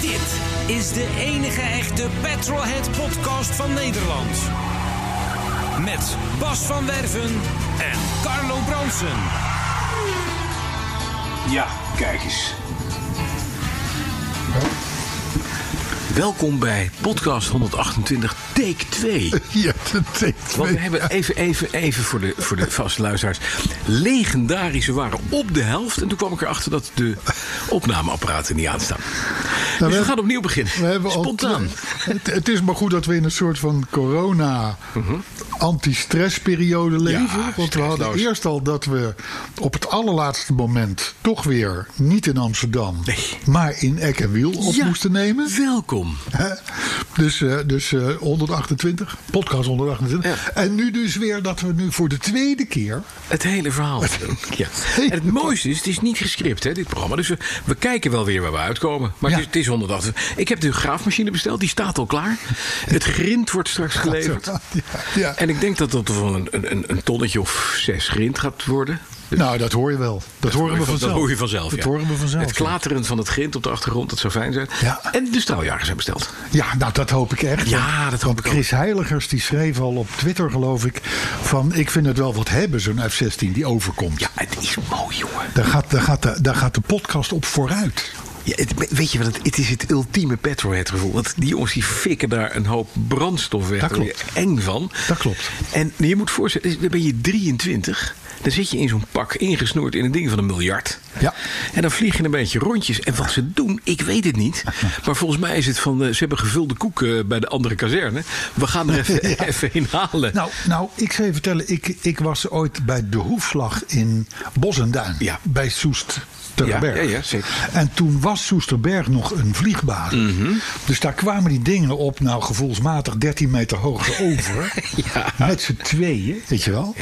Dit is de enige echte Petrolhead podcast van Nederland. Met Bas van Werven en Carlo Bronsen. Ja, kijk eens. Welkom bij podcast 128, take 2. Ja, dat deed Want we me. hebben even, even, even voor de, voor de vaste luisteraars. Legendarische waren op de helft. En toen kwam ik erachter dat de opnameapparaten niet aanstaan. dus we Nou, hebben- gaan opnieuw beginnen. We hebben al Spontaan. twee- het, het is maar goed dat we in een soort van corona-anti-stressperiode leven. want we hadden Mhm. stressloos. eerst al dat we op het allerlaatste moment toch weer niet in Amsterdam, Nee. maar in Eck en Wiel op Ja. moesten nemen. Welkom. Hè? Dus, eh, dus eh, 128, podcast 128. Ja. En nu dus weer dat we nu voor de tweede keer. Het hele verhaal. ja. En het mooiste is, het is niet gescript, hè, dit programma. Dus we, we kijken wel weer waar we uitkomen. Maar Ja. het, is, het is 180. Ik heb de graafmachine besteld, die staat al klaar. Het grind wordt straks geleverd. Ja, ja. En ik denk dat dat wel een, een, een tonnetje of zes grind gaat worden. Nou, dat hoor je wel. Dat, horen we van- vanzelf. Dat hoor je vanzelf. Dat ja. horen we vanzelf. Het klateren van het grind op de achtergrond, dat zou fijn zijn. Ja. En de straaljagers zijn besteld. Ja, nou dat hoop ik echt. Ja, dat hoop Want ik ook. Chris Heiligers die schreef al op Twitter, geloof ik, van ik vind het wel wat hebben, zo'n F-16 die overkomt. Ja, het is mooi, jongen. Daar, gaat, daar, gaat de, daar gaat de podcast op vooruit. Ja, het- weet je wat, het, het is het ultieme petrolhead gevoel. Want die jongens die fikken daar een hoop brandstof weg. Dat Daar word je klopt. Eng van. Dat klopt. En je moet voorstellen, dus dan ben je 23. Dan zit je in zo'n pak ingesnoerd in een ding van een miljard. Ja. En dan vlieg je een beetje rondjes. En wat ze doen, ik weet het niet. Maar volgens mij is het van, eh, ze hebben gevulde koeken bij de andere kazerne. We gaan er even, even in halen. Nou, nou ik zou je vertellen, ik, ik was ooit bij de hoefslag in Bosenduin. Ja. Bij Soest. Terberg. Ja, ja, ja, zeker. En toen was Soesterberg nog een vliegbasis. Mhm. Dus daar kwamen die dingen op, nou gevoelsmatig 13 meter hoogte over. Met z'n tweeën, weet je wel.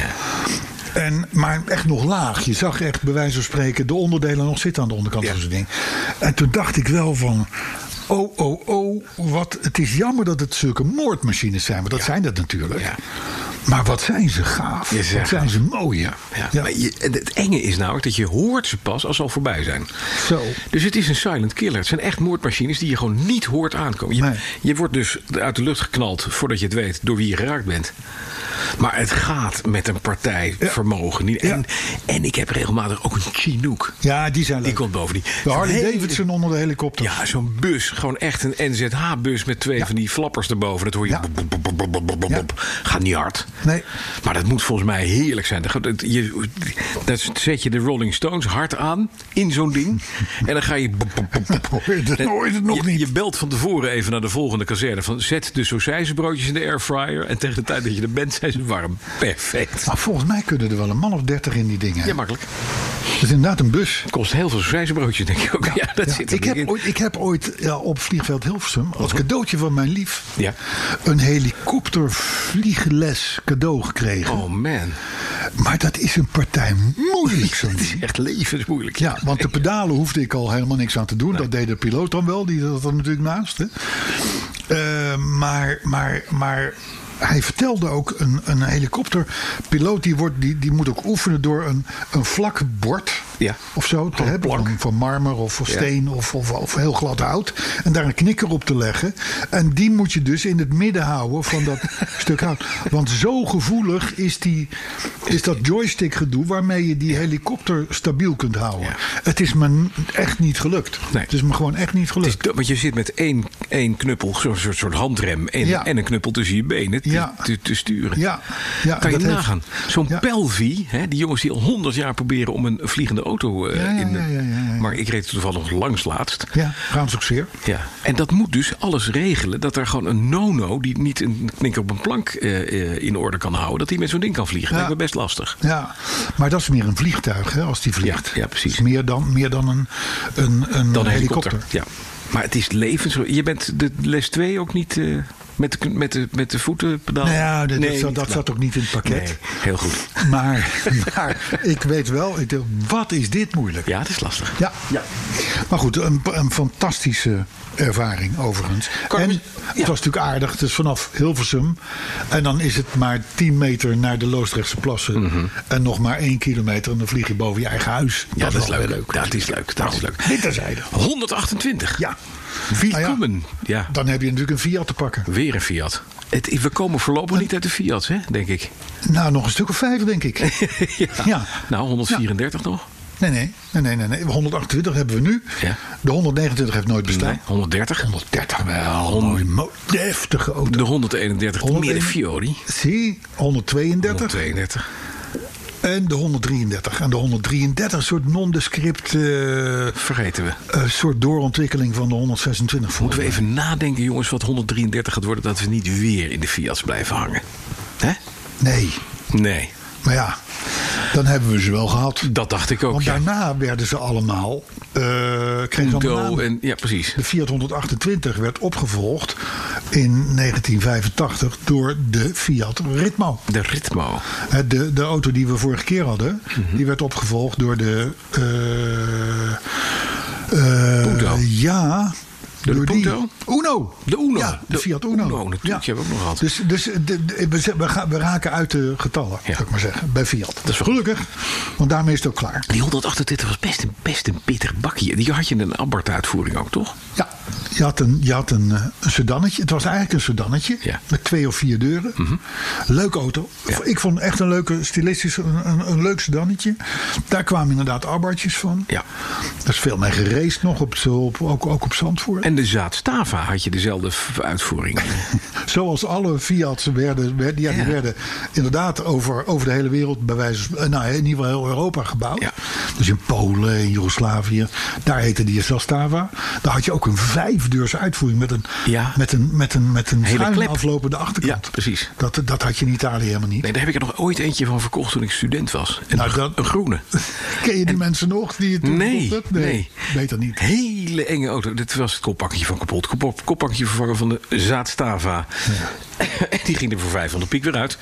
En, maar echt nog laag. Je zag echt, bij wijze van spreken, de onderdelen nog zitten aan de onderkant Ja. van zo'n ding. En toen dacht ik wel van. Oh, oh, oh, wat, het is jammer dat het zulke moordmachines zijn. Want dat zijn dat natuurlijk. Ja. Maar wat zijn ze gaaf. Ja, ze zijn wat zijn ze mooi, hè? Ja, Ja. Maar je, en het enge is namelijk dat je hoort ze pas als ze al voorbij zijn. Zo. Dus het is een silent killer. Het zijn echt moordmachines die je gewoon niet hoort aankomen. Je, Nee. je wordt dus uit de lucht geknald voordat je het weet door wie je geraakt bent. Maar het gaat met een partij vermogen. niet. En, en ik heb regelmatig ook een Chinook. Ja, die zijn leuk. Die komt bovendien. De Harley Zo'n hele- Davidson onder de helikopter. Ja, zo'n bus. Gewoon echt een NZH-bus met twee van die flappers erboven. Dat hoor je. Ja. bop, bop, bop, bop, bop, bop, bop, Ja. bop. Gaat niet hard. Nee. Maar dat moet volgens mij heerlijk zijn. Dat, dat- je, dat zet je de Rolling Stones hard aan in zo'n ding. en dan ga je... bop, bop, bop, bop. Hoor je het- hoor je het nog je, niet? Je belt van tevoren even naar de volgende kazerne. Van, zet de sausijzenbroodjes in de airfryer. En tegen de tijd dat je er bent zijn ze warm. Perfect. Maar volgens mij kunnen er wel een man of dertig in die dingen. Ja, makkelijk. Het is inderdaad een bus. Kost heel veel sausijzenbroodjes, denk ik ook. Ja, dat Ja, zit er ik, niet heb in. ooit, ik heb ooit ja, op vliegveld Hilversum als cadeautje van mijn lief Ja. een helikoptervliegles cadeau gekregen. Oh man, Maar dat is een partij moeilijk zo'n het is ding. echt levensmoeilijk. Ja, want de pedalen hoefde ik al helemaal niks aan te doen. Dat deed de piloot dan wel, die zat er natuurlijk naast. Hè. Eh, maar, maar, maar hij vertelde ook een, een helikopterpiloot die, wordt, die, die moet ook oefenen door een, een vlak bord Ja. of zo te hebben. Van, van marmer of van steen of, of, of heel glad hout. En daar een knikker op te leggen. En die moet je dus in het midden houden van dat stuk hout. Want zo gevoelig is, die, is dat joystick gedoe waarmee je die helikopter stabiel kunt houden. Ja. Het is me n- echt niet gelukt. Nee. Het is me gewoon echt niet Het gelukt. is, do- want je zit met één, één knuppel, zo'n soort, soort handrem en, Ja. en een knuppel tussen je benen. te, Ja. te, te sturen. Ja, ja, kan je dat heeft- nagaan. Zo'n ja. Pelvi, hè, die jongens die al honderd jaar proberen om een vliegende auto eh, Ja, ja, in de... ja, ja, ja, ja. Maar ik reed toevallig nog langs laatst. Ja, gaan ze ook zeer. Ja. En dat moet dus alles regelen. Dat er gewoon een nono die niet een knikker op een plank eh, eh, in orde kan houden. Dat die met zo'n ding kan vliegen. Dat lijkt me best lastig. Ja, maar dat is meer een vliegtuig hè, als die vliegt. Ja, ja, precies. Dat is meer dan, meer dan een, een, een Dan een helikopter. helikopter. Ja. Maar het is levens. Je bent de les 2 ook niet eh, met, de, met, de, met de voeten pedaal. Nou ja, dat, Nee, dat, zat- niet dat gedaan. zat ook niet in het pakket. Nee, heel goed. Maar, maar ik weet wel, ik, dacht, wat is dit moeilijk? Ja, het is lastig. Ja. Maar goed, een, een fantastische ervaring overigens. Kan- en ja. het was natuurlijk aardig. Het is vanaf Hilversum. En dan is het maar 10 meter naar de Loosdrechtse plassen. En nog maar 1 kilometer. En dan vlieg je boven je eigen huis. Mhm. Ja, dat, is wel leuk. weer Dat is leuk. Dat is leuk. Dit terzijde. 128. Ja. Willkommen. Nou ja. Dan heb je natuurlijk een Fiat te pakken. Weer een Fiat. Het, we komen voorlopig niet uit de Fiat, hè, denk ik. Nou, nog een stuk of vijf, denk ik. Ja. Nou, 134 nog. Nee, nee, nee, nee, nee, nee. 128 hebben we nu. Ja. De 129 heeft nooit bestaan. Nee, Ah, 130. 130 wel. Mooi, mooi, deftige auto. De 131. Meer de 131. Fiori. Zie, 132 132. en de 133. En de 133 een soort nondescript, eh, Vergeten we. een soort doorontwikkeling van de 126. voor. Moeten we even nadenken, jongens, wat 133 gaat worden... dat we niet weer in de Fiats blijven hangen. Hè? Nee, Nee. maar ja, dan hebben we ze wel gehad. Dat dacht ik ook, Want ja. daarna werden ze allemaal, eh kregen ze allemaal Undo namen. en... Ja, precies. De Fiat 128 werd opgevolgd in 1985 door de Fiat Ritmo. De Ritmo. Hè, De, de auto die we vorige keer hadden, Mhm. die werd opgevolgd door de. eh, eh, Punto. Ja. Door de die. Punto? Uno. De Uno. Ja, de, De Fiat Uno. Uno, natuurlijk, die hebben we ook nog gehad. Dus, dus de- de- we, z- we gaan, we raken uit de getallen, Ja. zou ik maar zeggen, bij Fiat. Dat is wel- Gelukkig, want daarmee is het ook klaar. Die 128 was best een, best een pittig bakje. Die had je in een Abarth-uitvoering ook, toch? Ja, je had een, je had een, eh, een sedannetje. Het was eigenlijk een sedannetje. Ja. Mhm. Met twee of vier deuren. Leuke auto. Ja. Ik vond echt een leuke, stilistisch een, een, een leuk sedannetje. Daar kwamen inderdaad abbertjes van. Ja. Er is veel mee gereisd nog, op, zo- op, ook, ook op Zandvoort. En de Zaat Stava had je dezelfde f- uitvoering. Zoals alle Fiat's werden, werden, ja, die Ja. werden inderdaad over, over de hele wereld, bij wijze van- eh, nou, in ieder geval heel Europa gebouwd. Ja. Dus in Polen, in Joegoslavië, daar heette die Zastava. Daar had je ook een vijfdeurs uitvoering met een, Ja. met een, met een, met een Hele schuin klep. aflopende achterkant. Ja, precies. Dat, dat had je in Italië helemaal niet. Nee, daar heb ik er nog ooit eentje van verkocht toen ik student was. En Nou, een- dat- een groene. Ken je die mensen nog die het toen Nee, gekocht hebben? nee. Beter niet. Hele enge auto. Dit was het koppakje van kapot. Kop- Koppakje vervangen van de Zaatstava. En die ging er voor 500 piek weer uit.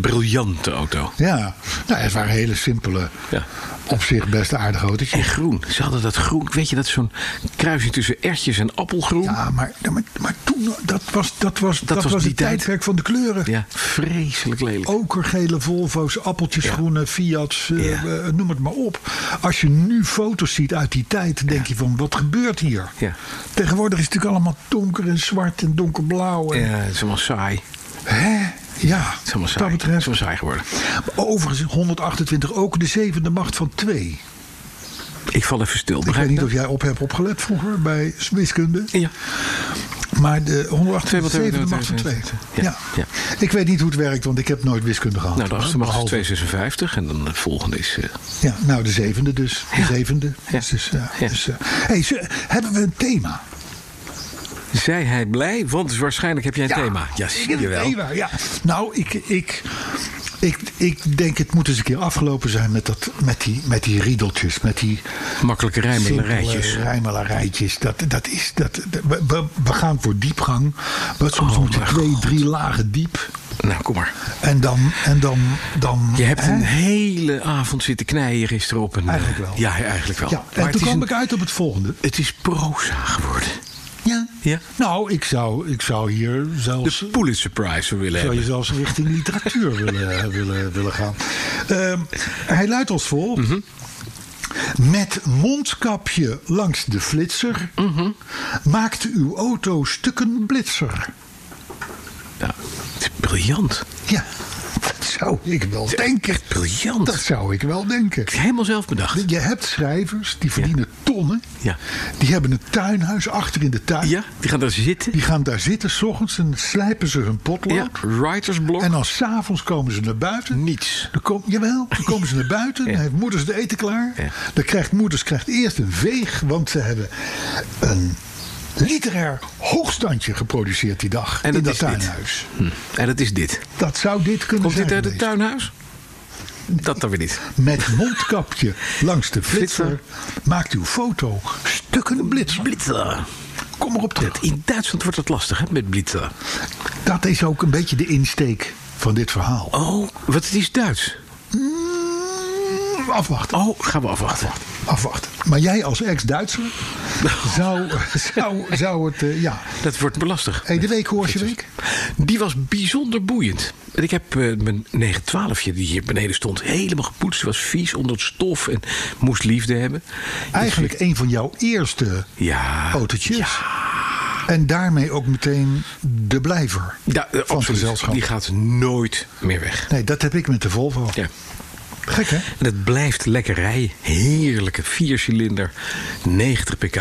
Briljante auto. Ja, nou, het waren hele simpele, Ja. op zich best aardige autootjes. En groen. Ze hadden dat groen. Weet je, dat is zo'n kruising tussen ertjes en appelgroen. Ja, Ja, maar, maar, maar toen, dat was, dat was, dat was was, die het tijd. tijdperk van de kleuren. vreselijk lelijk. Oh, Okergele Volvo's, appeltjes, groene Fiat's, eh, Ja. eh, noem het maar op. Als je nu foto's ziet uit die tijd, denk je van wat gebeurt hier? Ja. Tegenwoordig is het natuurlijk allemaal donker en zwart en donkerblauw. En, Ja, het is allemaal saai. Het Hè? Ja, is allemaal wat saai. dat Het is betreft. allemaal saai geworden. Overigens 128 ook de zevende macht van twee. Ik val even stil. Ik Begrijp weet je niet dat? of jij op hebt opgelet vroeger bij wiskunde. Ja. Maar de 178 2, de macht van 2. 2. Ja. Ja, ja. Ik weet niet hoe het werkt, want ik heb nooit wiskunde gehad. Nou, de achtste macht is Behalve- 256 en dan de volgende is... eh, Ja, nou, de zevende dus. De zevende. Ja. Dus, ja, Ja. dus, eh, hey, ze- hebben we een thema? Zij hij blij, want waarschijnlijk heb jij een thema. Ja, ik zie heb je een wel. thema, ja. Nou, ik, ik, ik, ik denk het moet eens een keer afgelopen zijn met, dat, met, die, met die riedeltjes. Met die Makkelijke simpele rijmelerijtjes. rijmelarijtjes. Dat, dat is, dat, dat- we, we, we gaan voor diepgang. Maar soms moeten Oh, mijn twee, God. drie lagen diep. Nou, kom maar. En dan... En dan, dan Je hebt hè? een hele avond zitten knijden gisteren op een... eh, Eigenlijk wel. Ja, eigenlijk wel. Ja, maar en het toen is, kwam een- ik uit op het volgende. het is proza geworden. Ja. Ja. Nou, ik zou, ik zou hier zelfs... De Pulitzer Prize willen zou je hebben. zelfs richting literatuur willen, willen, willen gaan. Ehm, hij luidt als volgt. Mhm. Met mondkapje langs de flitser Mhm. maakt uw auto stukken blitser. Ja, het is Nou, briljant. Ja, dat is zou ik wel denken. briljant. Dat zou ik wel denken. Helemaal zelf bedacht. Je hebt schrijvers die verdienen tonnen. Ja. Die hebben een tuinhuis achter in de tuin. Ja, die gaan daar zitten. Die gaan daar zitten s ochtends en slijpen ze hun potlood. Ja, Mm. writersblok. En dan s'avonds komen ze naar buiten. Niets. Dan kom, jawel, dan komen ze naar buiten. Dan heeft moeders de eten klaar. Ja. Dan krijgt moeders krijgt eerst een veeg. Want ze hebben een literair hoogstandje geproduceerd die dag. En dat in dat is dit. tuinhuis. En dat is dit. Dat zou dit kunnen Komt zijn. dit uit het geweest. tuinhuis? Dat dan weer niet. Met mondkapje langs de flitser. Maakt uw foto stukken blitser. Blitzer. Kom erop terug. In Duitsland wordt het lastig, hè, met blitzer. Dat is ook een beetje de insteek van dit verhaal. Oh, wat het is Duits. Mm, afwachten. Oh, gaan we afwachten. Afwachten. Maar jij als ex-Duitser zou, zou, zou het... eh, ja. Dat wordt me lastig. Hey, de week hoor je week. Die was bijzonder boeiend. En ik heb eh, mijn 912-je die hier beneden stond helemaal gepoetst. Was vies onder het stof en moest liefde hebben. Eigenlijk een van jouw eerste Ja. autootjes. En daarmee ook meteen de blijver Ja, eh, van het absoluut. gezelschap. Die gaat nooit meer weg. Nee, dat heb ik met de Volvo. Ja. Gek hè? En het blijft lekker rijden. Heerlijke viercilinder, 90 pk,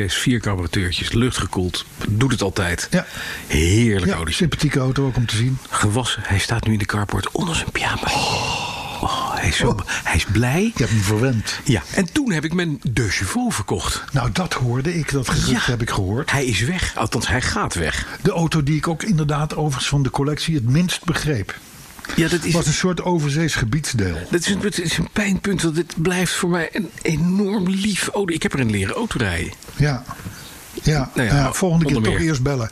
1.6, vier carburateurtjes, luchtgekoeld. Doet het altijd. Ja. Heerlijk Ja, Audi. sympathieke auto ook om te zien. Gewassen. Hij staat nu in de carport onder zijn pyjama. Oh, hij, is zo, hij is blij. Je hebt hem verwend. Ja, en toen heb ik mijn De Chevaux verkocht. Nou, dat hoorde ik. Dat gerucht Ja. heb ik gehoord. Hij is weg, althans hij gaat weg. De auto die ik ook inderdaad overigens van de collectie het minst begreep. Ja, dat is, was een soort overzees gebiedsdeel. dat is, een, dat is een pijnpunt, want dit blijft voor mij een enorm lief. Oh, ik heb er een leren auto rijden. Ja. Ja, Nou ja, ja, volgende keer onder toch meer. eerst bellen.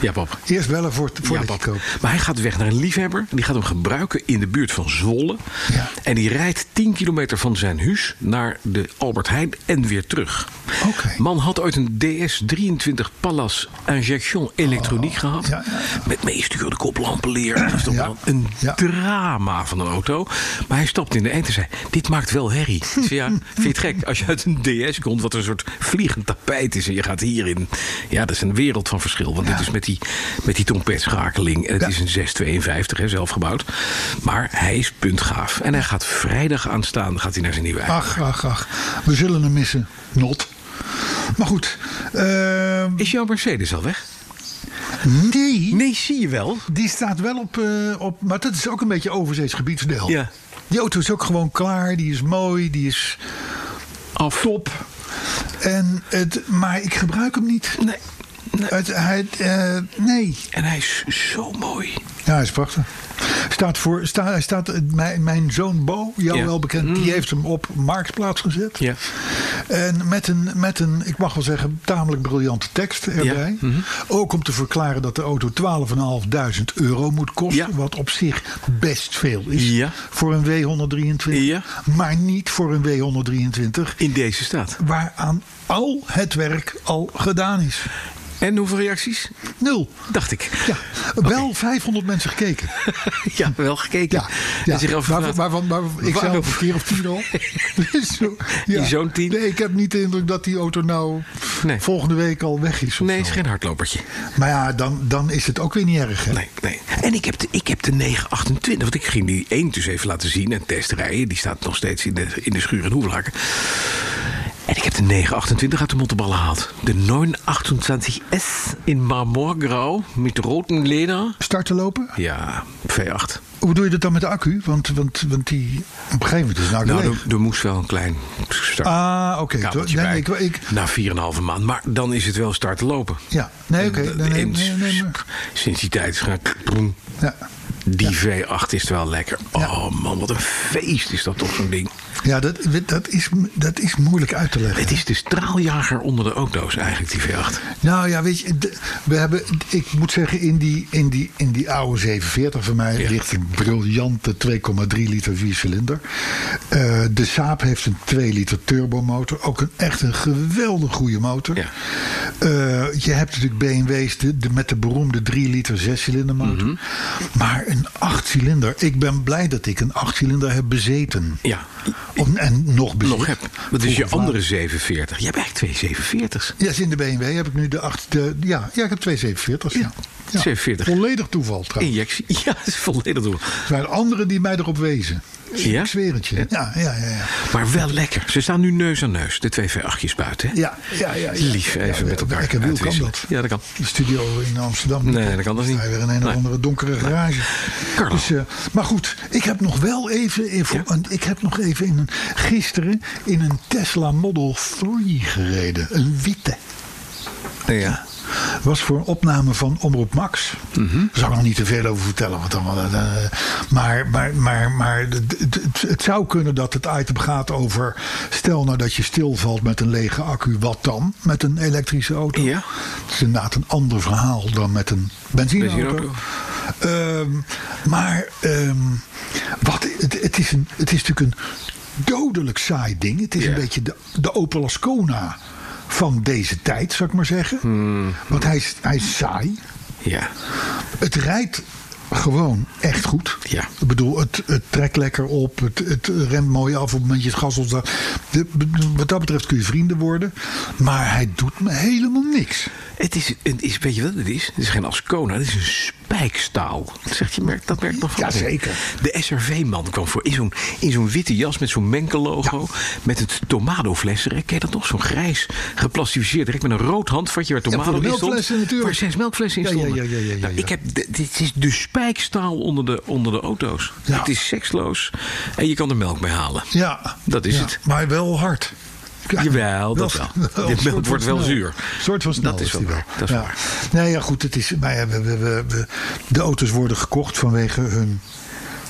Ja, pap. Eerst bellen voor, voor Ja, je pap. koopt. Maar hij gaat weg naar een liefhebber. En die gaat hem gebruiken in de buurt van Zwolle. Ja. En die rijdt 10 kilometer van zijn huis naar de Albert Heijn en weer terug. Oké. Man had ooit een DS23 Pallas Injection elektroniek gehad. Oh, ja, ja, ja. Met meestuurde koplampenleer. Dat is toch Ja. wel een Ja. drama van een auto. Maar hij stapte in de eind en zei: Dit maakt wel herrie. Ik zei, ja, vind je het gek als je uit een DS komt, wat een soort vliegend tapijt is. En je gaat hierin. Ja, dat is een wereld van verschil. Want dit is met die, met die trompetschakeling. En het Ja. is een 652, hè, zelfgebouwd. Maar hij is puntgaaf. En hij gaat vrijdag aanstaande gaat hij naar zijn nieuwe eigen. Ach, ach, ach. We zullen hem missen. Not. Maar goed. ehm, Is jouw Mercedes al weg? nee. Nee, zie je wel. Die staat wel op, eh, op. Maar dat is ook een beetje overzees gebiedsdeel. Ja. Die auto is ook gewoon klaar. Die is mooi. Die is Af. top. En het, maar ik gebruik hem niet. Nee. nee. Het, hij, eh, nee. En hij is zo mooi. Ja, hij is prachtig. Staat voor, sta, hij staat, eh, mijn, mijn zoon Bo, jou Ja. Mm. wel bekend, die heeft hem op Marktplaats gezet. Ja. En met een, met een, ik mag wel zeggen, tamelijk briljante tekst erbij. Mhm. Ook om te verklaren dat de auto 12.500 euro moet kosten. Ja. Wat op zich best veel is Ja. voor een W123. Ja. Maar niet voor een W123 In deze staat. waaraan al het werk al gedaan is. En hoeveel reacties? Nul. Dacht ik. Ja, wel 500 mensen gekeken. Ja, wel gekeken. Ja, ja. En zich afgevraagd, waarvan, waarvan, waarvan- ik Dus zelf waarom- een keer of tien al. Dus zo, In zo'n tien. Nee, ik heb niet de indruk dat die auto nou Nee. volgende week al weg is. Of Nee, zo. het is geen hardlopertje. Maar ja, dan, dan is het ook weer niet erg. Hè? Nee, nee. En ik heb, de, ik heb de 928, want ik ging die 1 dus even laten zien en testrijden. Die staat nog steeds in de, in de schuur in Hoevelaken. En ik heb de 928 uit de Monteballen gehaald. De 928S in marmorgrauw met roten leder. Starten lopen? Ja, V8. Hoe doe je dat dan met de accu? Want, want, want die, op een gegeven moment is nou, Nou, leeg. er, er moest wel een klein start. Ah, oké. kabeltje Nee, bij. nee, ik, ik, Na 4,5 maand. Maar dan is het wel start lopen. ja, nee, oké. En- Nee, nee, en nee, nee, maar- Sinds die tijd is gaan. kroem. ja. Die V8 is wel lekker. Ja. Oh man, wat een feest is dat toch zo'n ding. ja dat, dat, is, dat is moeilijk uit te leggen. Het is de straaljager onder de auto's eigenlijk, die V8. Nou ja, weet je, de- we hebben, ik moet zeggen, in die, in die, in die oude 47 van mij Ja. ligt een briljante 2,3 liter viercilinder. Eh, de Saab heeft een 2 liter turbomotor, ook een echt een geweldig goede motor. Ja. Eh, je hebt natuurlijk BMW's de, de- met de beroemde 3 liter zescilinder motor. Mhm. Maar een 8 cilinder, ik ben blij dat ik een 8 cilinder heb bezeten. Ja. Of- en nog bezit. nog heb. Dat is je andere 47. Jij hebt eigenlijk twee 47's. Ja, in de BMW heb ik nu de acht. De, ja, ja, ik heb twee 47's. Ja. Ja. 47. Volledig toeval trouwens. Injectie. Ja, dat is volledig door. Er zijn anderen die mij erop wezen. Ja? Ik zweer het je. Ja, ja, ja. ja. Maar wel lekker. Ze staan nu neus aan neus, de twee V8'jes buiten. hè? Ja, ja, ja, ja. Lief even Ja, ja, met elkaar. Beck en Wiel kan uitwisselen. dat. Ja, dat kan. De studio in Amsterdam. Nee, dat kan dus niet. Hij weer in een of Nee. andere donkere garage. Carlo. Dus, eh, maar goed, ik heb nog wel even. even Ja? een- ik heb nog even in een, gisteren in een Tesla Model 3 gereden. Een witte. Ja. Was voor een opname van Omroep Max. Mhm. Daar zal ik nog niet te veel over vertellen. Want dan, eh, maar maar, maar, maar het, het- het- het zou kunnen dat het item gaat over. Stel nou dat je stilvalt met een lege accu, wat dan? Met een elektrische auto. Ja. Het is inderdaad een ander verhaal dan met een benzineauto. Benzineauto. Ehm, maar ehm, wat, het, het, is een, het is natuurlijk een dodelijk saai ding. Het is Ja. een beetje de, de Opel Ascona van deze tijd, zou ik maar zeggen. Hmm. Want hij is, hij is saai. Ja. Het rijdt gewoon echt goed. Ja. Ik bedoel, het, het trekt lekker op. Het, het remt mooi af op het moment je het gas opstaat. De- Wat dat betreft kun je vrienden worden. Maar hij doet me helemaal niks. Het is, het is, weet je wat het is? Het is geen Ascona, het is een spijkstaal. Dat, zegt je, merkt, dat merkt nog van. Jazeker. De SRV-man kwam voor in zo'n, in zo'n witte jas met zo'n Menkel-logo. Met het tomadofles. erin. Ken je dat nog? Zo'n grijs geplastificeerd. Direct met een rood handvatje waar voor de tomaten in stond. melkflessen natuurlijk. Waar zes melkflessen in Ja, ja, stonden. ja, ja, ja, ja, Nou, ja. ik heb, d- dit is de spijkstaal onder de, onder de auto's. Ja. Het is seksloos. En je kan er melk mee halen. Ja. Dat is Ja, het. Maar wel hard. Ja, Jawel, dat wel. een Dit soort melk wordt van wel snel. zuur. Een soort van snel Dat is wel die waar, dat is waar. Nee, ja, goed. Het is, maar ja, we, we- we- we- de auto's worden gekocht vanwege hun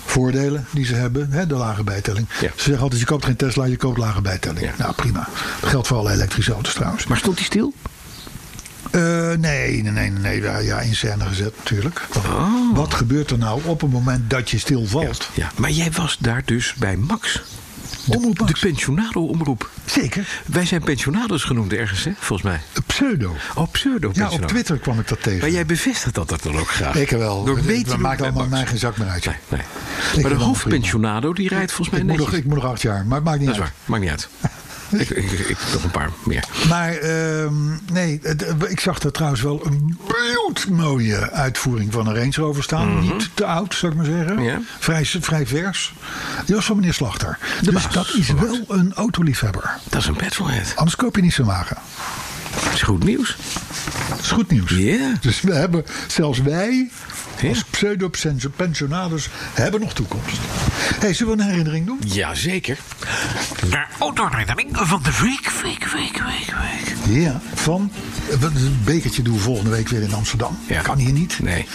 voordelen die ze hebben. Hè, de lage bijtelling. Ja. Ze zeggen altijd, je koopt geen Tesla, je koopt lage bijtelling. Ja. Nou, prima. Dat geldt voor alle elektrische auto's trouwens. Maar stond hij stil? Eh, nee, nee, nee, nee. Ja, ja, in scène gezet natuurlijk. Want Oh. Wat gebeurt er nou op het moment dat je stilvalt? Ja. Maar jij was daar dus bij Max. Omroep De Max. pensionado-omroep. Zeker. Wij zijn pensionados genoemd ergens, hè? Volgens mij. Pseudo. Oh, pseudo Ja, op Twitter kwam ik dat tegen. Maar jij bevestigt dat dat dan ook graag. Ik wel. Door Het- mee het te doen maakt bij allemaal Max. mij geen zak meer uit. joh. Nee, nee. vind Maar de het hoofdpensionado, die rijdt volgens mij Ik moet, netjes. nog, ik moet nog acht jaar, maar het maakt niet Dat is uit. waar. Maakt niet uit. ik, ik, ik, ik nog een paar meer. Maar ehm, nee, het- ik zag er trouwens wel een bloedmooie uitvoering van een Range Rover staan. Niet te oud, zou ik maar zeggen. Mhm. Ja. Vrij, vrij vers. Die was van meneer Slachter. dus baas, dat is wel een autoliefhebber. Dat is een petrolhead. Anders koop je niet zo'n wagen. Dat is goed nieuws. Dat is goed nieuws. Ja. Dus we hebben, zelfs wij, Ja. als pseudo-pensionaders, hebben nog toekomst. hey, zullen we een herinnering doen? Jazeker. De autoherinnering van de week, week, week, week, week. Ja, van. Een bekertje doen we volgende week weer in Amsterdam. Ja. Kan hier niet. Nee.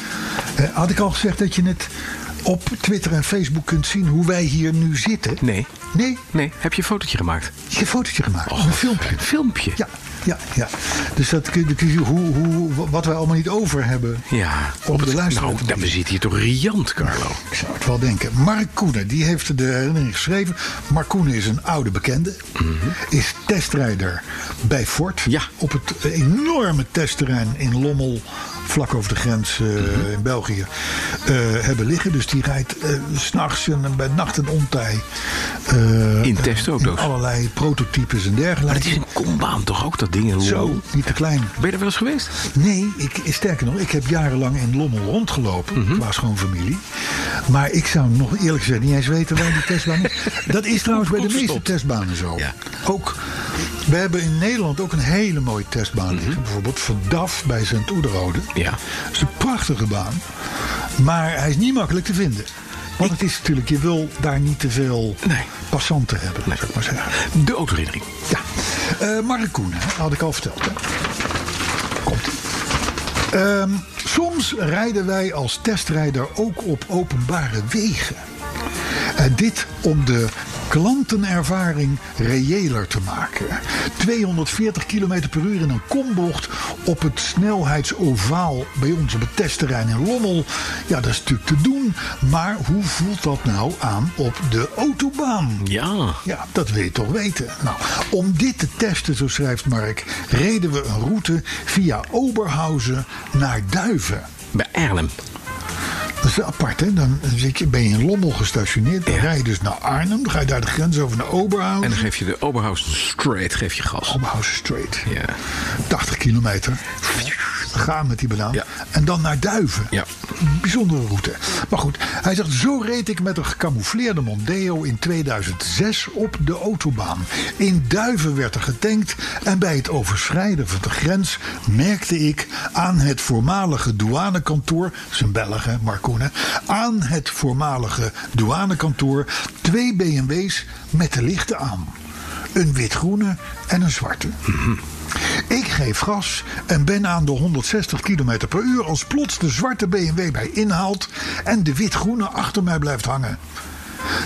Eh, had ik al gezegd dat je het op Twitter en Facebook kunt zien hoe wij hier nu zitten? Nee. Nee, Nee, heb je een fotootje gemaakt? je hebt een fotootje gemaakt. Oh, een filmpje. Een filmpje? Ja, ja, ja. Dus dat kun je, kun je hoe, hoe, wat wij allemaal niet over hebben. Ja. Om de luisteraar Nou, te dan, we zitten hier toch riant, Carlo. Ik zou het wel denken. Mark Koenen, die heeft de herinnering geschreven. Mark Koenen is een oude bekende. Is testrijder bij Ford. Mhm. Ja. Op het enorme testterrein in Lommel, vlak over de grens eh, Mhm. in België, eh, hebben liggen. Dus die rijdt eh, s s'nachts en bij nacht en ontij. eh, In testauto's. in allerlei prototypes en dergelijke. Maar het is een kombaan toch ook, dat ding? in Zo, Lommel? niet te klein. Ben je er wel eens geweest? Nee, ik, sterker nog, ik heb jarenlang in Lommel rondgelopen. Mhm. Qua schoonfamilie. Maar ik zou nog eerlijk gezegd niet eens weten waar die testbaan is. Dat is trouwens bij de Goed meeste verstopt. testbanen zo. Ja. Ook, we hebben in Nederland ook een hele mooie testbaan liggen. Bijvoorbeeld Verdaf bij Sint-Oederode. Mhm. Ja. Dat is een prachtige baan. Maar hij is niet makkelijk te vinden. Want het is natuurlijk, je wil daar niet te veel Nee. passanten hebben, Nee. zou ik maar zeggen. De autoherinnering. Ja, Eh Mark Koen, hè, had ik al verteld. Hè. Komt-ie. Ehm, soms rijden wij als testrijder ook op openbare wegen. En dit om de klantenervaring reëler te maken. 240 km per uur in een kombocht op het snelheidsovaal bij ons op het testterrein in Lommel. Ja, dat is natuurlijk te doen. Maar hoe voelt dat nou aan op de autobaan? Ja. Ja, dat wil je toch weten. Nou, om dit te testen, zo schrijft Mark, reden we een route via Oberhausen naar Duiven. Bij Erlem. Dat is apart, hè? Dan zit je, ben je in Lommel gestationeerd. Dan rij je dus naar Arnhem. Dan ga je daar de grens over naar En Oberhausen. dan geef je de Oberhausen straight geef je gas. Oberhausen Strait. Ja. 80 kilometer. Gaan met die banaan. Ja. En dan naar Duiven. Ja. Bijzondere route. Maar goed, hij zegt: Zo reed ik met een gecamoufleerde Mondeo in 2006 op de autobaan. In Duiven werd er getankt. En bij het overschrijden van de grens merkte ik aan het voormalige douanekantoor. Zijn Belg, hè, Marcone. Aan het voormalige douanekantoor twee BMW's met de lichten aan. Een wit-groene en een zwarte. Ik geef gas en ben aan de 160 km per uur als plots de zwarte BMW bij inhaalt en de wit-groene achter mij blijft hangen.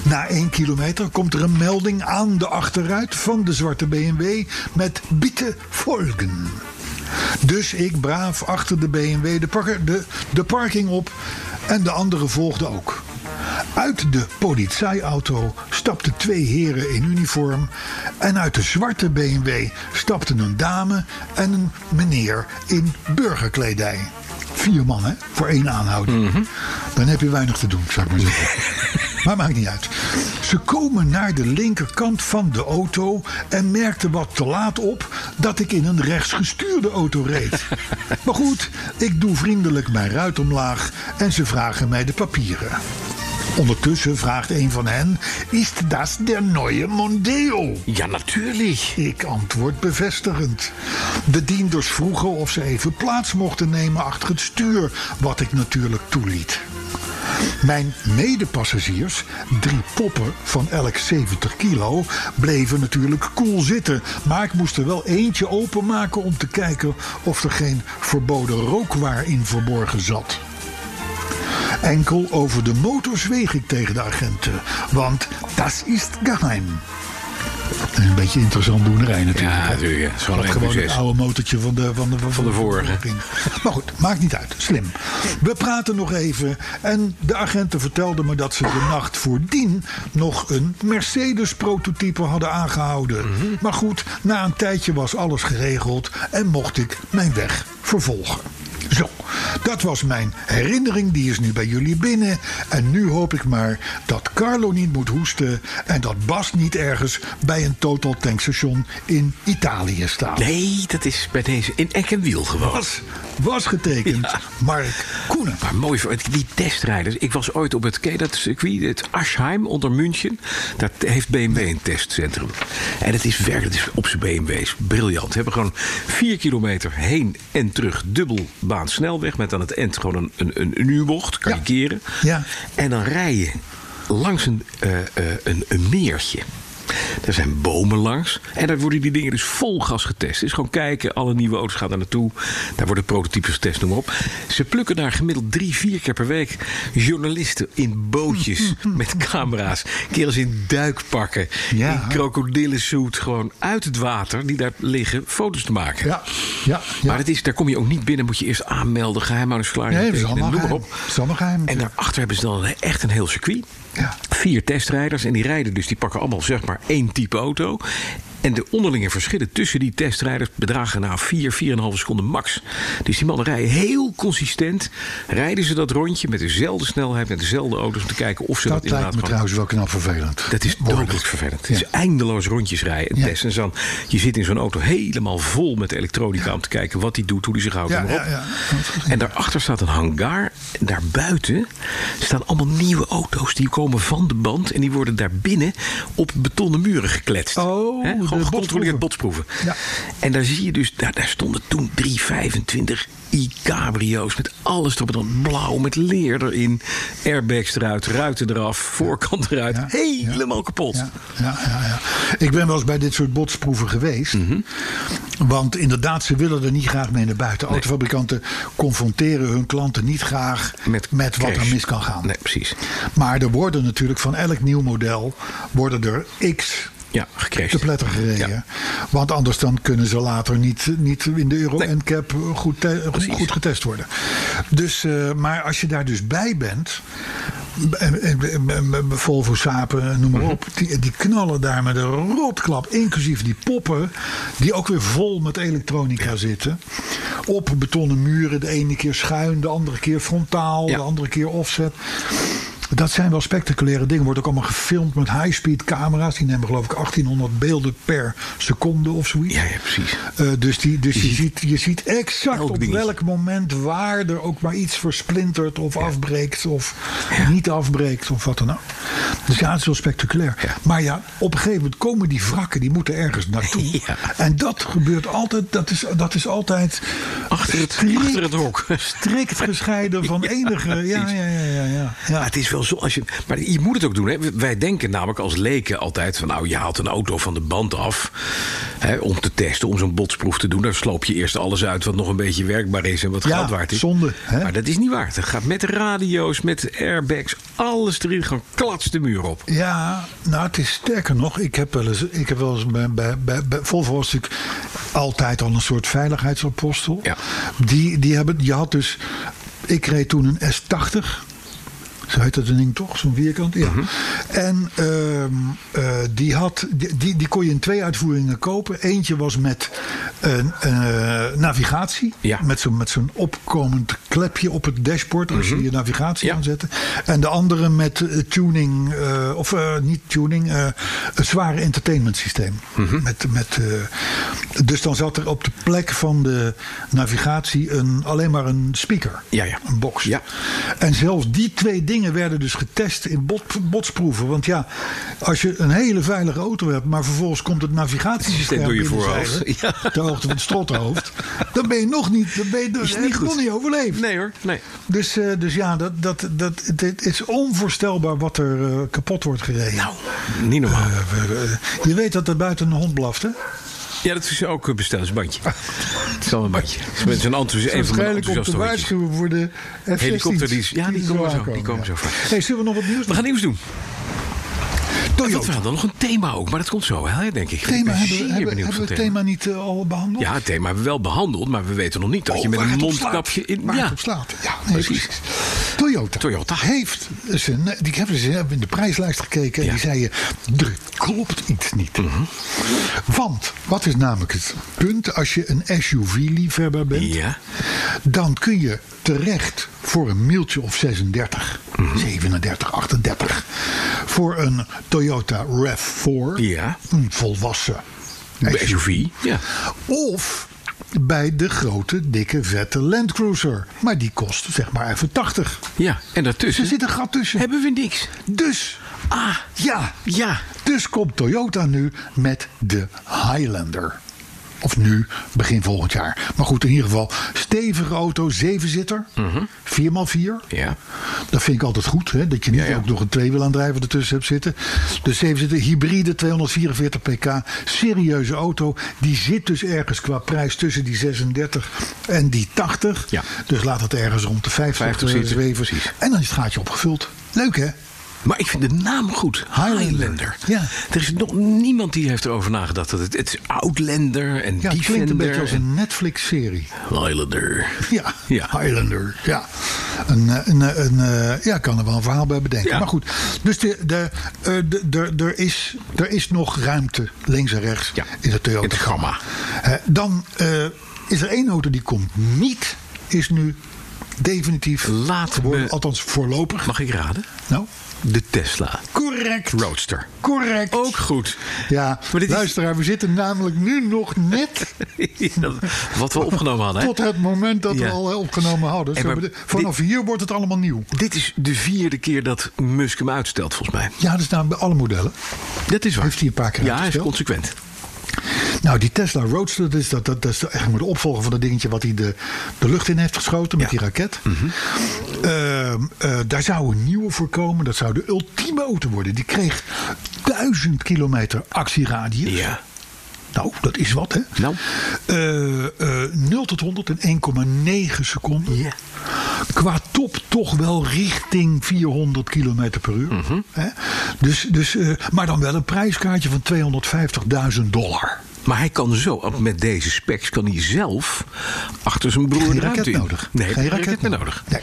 Na 1 kilometer komt er een melding aan de achteruit van de zwarte BMW met bitte volgen. Dus ik braaf achter de BMW de, parker- de, de parking op en de anderen volgden ook. Uit de politieauto stapten twee heren in uniform. En uit de zwarte BMW stapten een dame en een meneer in burgerkledij. Vier man, hè? Voor één aanhouding. Dan heb je weinig te doen, zou ik maar zeggen. maar maakt niet uit. Ze komen naar de linkerkant van de auto en merkten wat te laat op dat ik in een rechtsgestuurde auto reed. maar goed, ik doe vriendelijk mijn ruit omlaag en ze vragen mij de papieren. Ondertussen vraagt een van hen: Is dat der neue Mondeo? Ja, natuurlijk. Ik antwoord bevestigend. De dienders vroegen of ze even plaats mochten nemen achter het stuur, wat ik natuurlijk toeliet. Mijn medepassagiers, drie poppen van elk 70 kilo, bleven natuurlijk koel zitten. Maar ik moest er wel eentje openmaken om te kijken of er geen verboden rookwaar in verborgen zat. Enkel over de motor zweeg ik tegen de agenten, want dat is geheim. Dat is een beetje interessant doenerij natuurlijk. Ja, hè? natuurlijk, ja. Zo'n Dat gewoon NPC's. het oude motortje van de, van de, van de vorige. ging. Maar goed, maakt niet uit. Slim. We praten nog even. En de agenten vertelden me dat ze de nacht voordien nog een Mercedes-prototype hadden aangehouden. Maar goed, na een tijdje was alles geregeld en mocht ik mijn weg vervolgen. Zo, dat was mijn herinnering. Die is nu bij jullie binnen. En nu hoop ik maar dat Carlo niet moet hoesten. En dat Bas niet ergens bij een Total Tankstation in Italië staat. Nee, dat is bij deze in ek en wiel gewoon. Was, was getekend Mark Koenen. Maar mooi voor die testrijders. Ik was ooit op het ken je dat circuit, het Aschheim onder München. Daar t- heeft BMW een testcentrum. En het is werkelijk het is op zijn BMW's briljant. Ze hebben gewoon vier kilometer heen en terug dubbelbaan snelweg. Met aan het eind gewoon een, een, een, een U-bocht, kan je Ja. keren. Ja. En dan rij je langs een, eh, eh, een, een meertje. Er zijn bomen langs. En daar worden die dingen dus vol gas getest. Dus gewoon kijken, alle nieuwe auto's gaan daar naartoe. Daar worden prototypes getest, noem maar op. Ze plukken daar gemiddeld drie, vier keer per week journalisten in bootjes met camera's. Kerels in duikpakken, Ja. in krokodillensuit, gewoon uit het water, die daar liggen, foto's te maken. Ja, ja, ja. Maar het is, daar kom je ook niet binnen, moet je eerst aanmelden, geheimhoudingsverklaring. Nee, dat is tekenen, allemaal noem maar geheim. op. Dat is allemaal geheim. En daarachter hebben ze dan echt een heel circuit. Ja. Vier testrijders en die rijden dus, die pakken allemaal zeg maar één type auto. En de onderlinge verschillen tussen die testrijders bedragen na 4, 4,5 seconden max. Dus die mannen rijden heel consistent. Rijden ze dat rondje met dezelfde snelheid, met dezelfde auto's. Om te kijken of ze dat, dat lijkt inderdaad me gewoon trouwens wel knap vervelend. dat is Worden. dodelijk vervelend. Ja. Het is eindeloos rondjes rijden en Ja. testen. En dan, je zit in zo'n auto helemaal vol met elektronica... om te kijken wat die doet, hoe die zich houdt. Ja, noem maar op. ja, ja. En daarachter staat een hangar. En Daarbuiten staan allemaal nieuwe auto's. Die komen van de band en die worden daarbinnen... op betonnen muren gekletst. Oh, Hè, de Gewoon gecontroleerd botsproeven. botsproeven. Ja. En daar zie je dus, daar, daar stonden toen 325 i-cabrio's met alles erop en dan blauw, met leer erin, airbags eruit, ruiten eraf, voorkant eruit, Ja, helemaal kapot. Ja, ja, ja, ja. Ik ben wel eens bij dit soort botsproeven geweest. Mhm. Want inderdaad, ze willen er niet graag mee naar buiten. Autofabrikanten confronteren hun klanten niet graag met, wat crash. er mis kan gaan. Nee, precies. Maar er worden natuurlijk van elk nieuw model worden er x Ja, gecrashed. te pletter gereden. Ja. Want anders dan kunnen ze later niet, niet in de euro Nee. NCAP goed, te- goed getest worden. Dus, eh, maar als je daar dus bij bent. b- b- b- b- Volvo, Sapen, noem maar op. Die, die knallen daar met een rotklap. Inclusief die poppen. Die ook weer vol met elektronica zitten. op betonnen muren. De ene keer schuin, de andere keer frontaal, Ja. de andere keer offset. Dat zijn wel spectaculaire dingen. Wordt ook allemaal gefilmd met high-speed camera's. Die nemen geloof ik 1800 beelden per seconde of zoiets. Ja, ja, precies. Eh, dus die, dus je, ziet, je ziet exact elk op dingetje. welk moment waar er ook maar iets versplintert of afbreekt of niet afbreekt of wat dan ook. Dus ja, het is wel spectaculair. Ja. Maar ja, op een gegeven moment komen die wrakken, die moeten ergens naartoe. Ja. En dat gebeurt altijd, dat is, dat is altijd Achter het- achter het hok. strikt gescheiden van enige. Ja, precies. ja, ja, ja, ja. Ja, ja. het is wel zo. Als je, maar je moet het ook doen. Hè? Wij denken namelijk als leken altijd van... nou, je haalt een auto van de band af hè, om te testen, om zo'n botsproef te doen. Dan sloop je eerst alles uit wat nog een beetje werkbaar is en wat Ja, geld waard is. zonde, hè? Maar dat is niet waard. Het gaat met radio's, met airbags, alles erin. Gewoon klats de muur op. Ja, nou het is sterker nog. Ik heb wel eens, ik heb wel eens bij, bij, bij, bij Volvo was natuurlijk altijd al een soort veiligheidsapostel. Ja. Die, die hebben, je had dus, ik reed toen een S80. Zo heet dat een ding toch? Zo'n vierkant? Ja. Mhm. En ehm, eh, die, had, die, die, die kon je in twee uitvoeringen kopen. Eentje was met een, eh, navigatie. Ja. Met zo'n met zo'n opkomend klepje op het dashboard. Als je je navigatie Mhm. Ja. aanzet. En de andere met eh, tuning, eh, of eh, niet tuning, eh, een zware entertainment systeem. Mhm. met, met, eh, dus dan zat er op de plek van de navigatie een, alleen maar een speaker. Ja, ja. Een box. Ja. En zelfs die twee dingen werden dus getest in bot, botsproeven. Want ja, als je een hele veilige auto hebt, maar vervolgens komt het navigatiesysteem Het systeem door je binnenzeilen, voorhoofd. Ja. ter hoogte van het strothoofd, dan ben je nog niet, dan ben je, Is heb niet je goed. nog niet overleefd. Nee hoor, nee. Dus, eh, dus ja, dat, dat, dat, het, het is onvoorstelbaar wat er eh, kapot wordt gereden. Nou, niet normaal. Eh, we- eh, je weet dat er buiten een hond blaft, hè? ja, dat is ook een bestellersbandje. Het is al een bandje. Het is met zo'n enthousiast, een van mijn Waarschijnlijk om enthousiaste te hondjes. waarschuwen voor de f Helikopterdienst. Ja, die komen zo, die komen zo vaak. vaak. Hey, zullen we nog wat nieuws We gaan nieuws doen. doen? Wat Toyota. we hadden nog een thema ook, maar dat komt zo, hè, denk ik. ik Thema ben hebben, zeer we- hebben, benieuwd hebben we van het thema niet eh, al behandeld? Ja, het thema hebben we wel behandeld, maar we weten nog niet dat je met Oh, waar een het op mondkapje slaat. in. Waar ja, het op slaat. Ja, nee, Precies. precies. Toyota. Toyota. Heeft ze, nee, die hebben ze hebben in de prijslijst gekeken en Ja. Mhm. die zeiden: er klopt iets niet. Want wat is namelijk het punt als je een SUV-liefhebber bent? Ja. Dan kun je terecht voor een mailtje of 36, Mhm. 37, 38. Voor een Toyota RAV4. Ja. Een volwassen bij SUV. Ja. of bij de grote, dikke, vette Land Cruiser. Maar die kost zeg maar even 80. ja, en daartussen Er zit een gat tussen. hebben we niks. Dus, Hm? Ah, ja. ja. Dus komt Toyota nu met de Highlander. Of nu, begin volgend jaar. Maar goed, in ieder geval, stevige auto, zevenzitter. 4x4. Mhm. Ja. Dat vind ik altijd goed, hè? dat je niet Ja, ja. ook nog een tweewielaandrijver ertussen hebt zitten. Dus ze heeft een hybride 244 pk, serieuze auto. Die zit dus ergens qua prijs tussen die 36 en die 80. Ja. Dus laat het ergens rond de 50, 50 eh, zitten, zweven. precies. En dan is het gaatje opgevuld. Leuk hè? Maar ik vind de naam goed. Highlander. Highlander. Ja. Er is nog niemand die heeft erover nagedacht. Dat het, het is Outlander en Ja, het Defender. klinkt een beetje als en een Netflix-serie. Highlander. Ja, Ja. Highlander. Ja, een, eh, een, eh, een, eh, ja, ik kan er wel een verhaal bij bedenken. Ja. Maar goed, dus de, de, eh, de, de, er, is, er is nog ruimte links en rechts Ja, in de Toyota. in het gamma. Eh, dan eh, is er één auto die komt niet, is nu definitief Laat geworden. me- Althans voorlopig. Mag ik raden? Nou, De Tesla correct. Roadster. Correct. Ook goed. Ja, Maar dit is- luisteraar, we zitten namelijk nu nog net Wat we opgenomen hadden. hè? tot het moment dat Ja. we al eh, opgenomen hadden. En Zo, maar we de- vanaf hier wordt het allemaal nieuw. Dit is de vierde keer dat Musk hem uitstelt, volgens mij. Ja, dat is namelijk bij alle modellen. Dat is waar. Heeft hij een paar keer Ja, hij is uitgesteld? consequent. Nou, die Tesla Roadster, dat is, dat, dat, dat is eigenlijk maar de opvolger van dat dingetje wat hij de, de lucht in heeft geschoten met Ja. Mhm. die raket. Ehm, eh, daar zou een nieuwe voor komen. Dat zou de ultieme auto worden. Die kreeg 1000 kilometer actieradius. Ja. Nou, dat is wat, hè? Nou. Eh, eh, 0 tot 100 in 1,9 seconden. Ja. Qua top toch wel richting 400 km per uur. Mhm. hè? Dus, dus, eh, maar dan wel een prijskaartje van 250.000 dollar. Maar hij kan zo, met deze specs, kan hij zelf achter zijn broer Geen de ruimte raket in. nodig. Nee, Geen raket, meer nodig. Nee.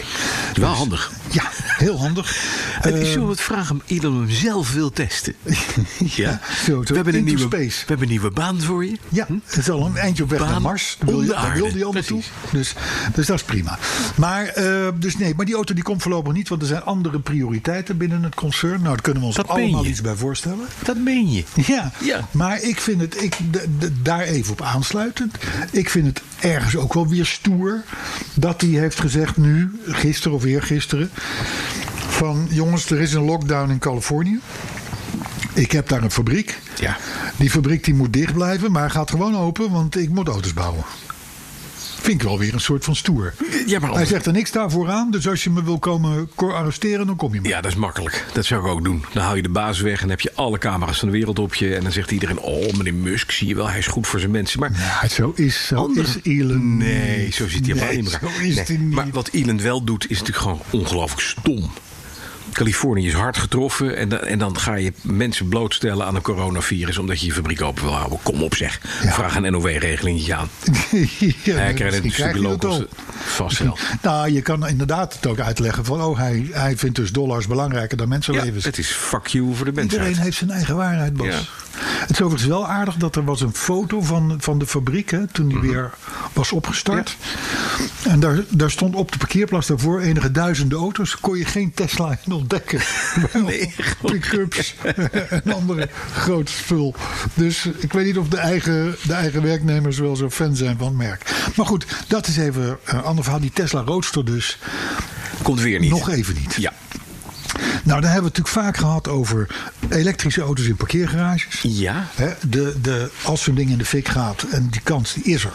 Wel handig. Ja, Heel handig. Eh, Eh, Zullen we het vragen om Elon hem zelf wil testen? ja. zo, we, hebben een into nieuwe, space. we hebben een nieuwe baan voor je. Ja, het is al een eindje op weg Hm? Baan naar Mars. Daar wil om je- de daar aarde. wilde hij al naartoe. Dus, dus dat is prima. Maar, eh, dus nee, maar die auto die komt voorlopig niet, want er zijn andere prioriteiten binnen het concern. Nou, daar kunnen we ons Dat meen allemaal je. iets bij voorstellen. Dat meen je. Ja, Ja. maar ik vind het, ik, d- d- daar even op aansluitend, ik vind het ergens ook wel weer stoer dat hij heeft gezegd nu, gisteren of eergisteren, van jongens, er is een lockdown in Californië. Ik heb daar een fabriek. Ja. Die fabriek die moet dicht blijven, maar gaat gewoon open, want ik moet auto's bouwen. Vind ik wel weer een soort van stoer. Ja, maar Hij anders- zegt er niks daarvoor aan, dus als je me wil komen ko- arresteren, dan kom je maar. Ja, dat is makkelijk. Dat zou ik ook doen. Dan haal je de baas weg en heb je alle camera's van de wereld op je. En dan zegt iedereen: Oh, meneer Musk, zie je wel, hij is goed voor zijn mensen. Maar Ja, zo is, zo Anders- is Elon. Nee, zo zit hij helemaal Nee, niet in elkaar. zo is Nee, hij niet. Maar wat Elon wel doet, is natuurlijk gewoon ongelooflijk stom. Californië is hard getroffen en, da- en dan ga je mensen blootstellen aan een coronavirus... omdat je je fabriek open wil houden. Kom op zeg, Ja. vraag een NOW-regelingetje aan. ja, hij krijgt misschien een krijg stukje je dat locals al. vast eh, wel. Nou, je kan inderdaad het ook uitleggen van... oh, hij, hij vindt dus dollars belangrijker dan Ja, mensenlevens. het is fuck you voor de Iedereen mensheid. heeft zijn eigen waarheid, Bas. Ja. Het is overigens wel aardig dat er was een foto van, van de fabriek... Hè, toen die Mhm. weer was opgestart. En daar, daar stond op de parkeerplaats daarvoor enige duizenden auto's. Kon je geen Tesla in ontdekken. Nee, Pick-ups en andere groot spul. Dus ik weet niet of de eigen, de eigen werknemers wel zo fan zijn van het merk. Maar goed, dat is even een ander verhaal. Die Tesla Roadster dus Komt weer niet. nog even niet. Ja. Nou, daar hebben we het natuurlijk vaak gehad over elektrische auto's in parkeergarages. Ja. Hè, de, de, als zo'n ding in de fik gaat, en die kans die is er,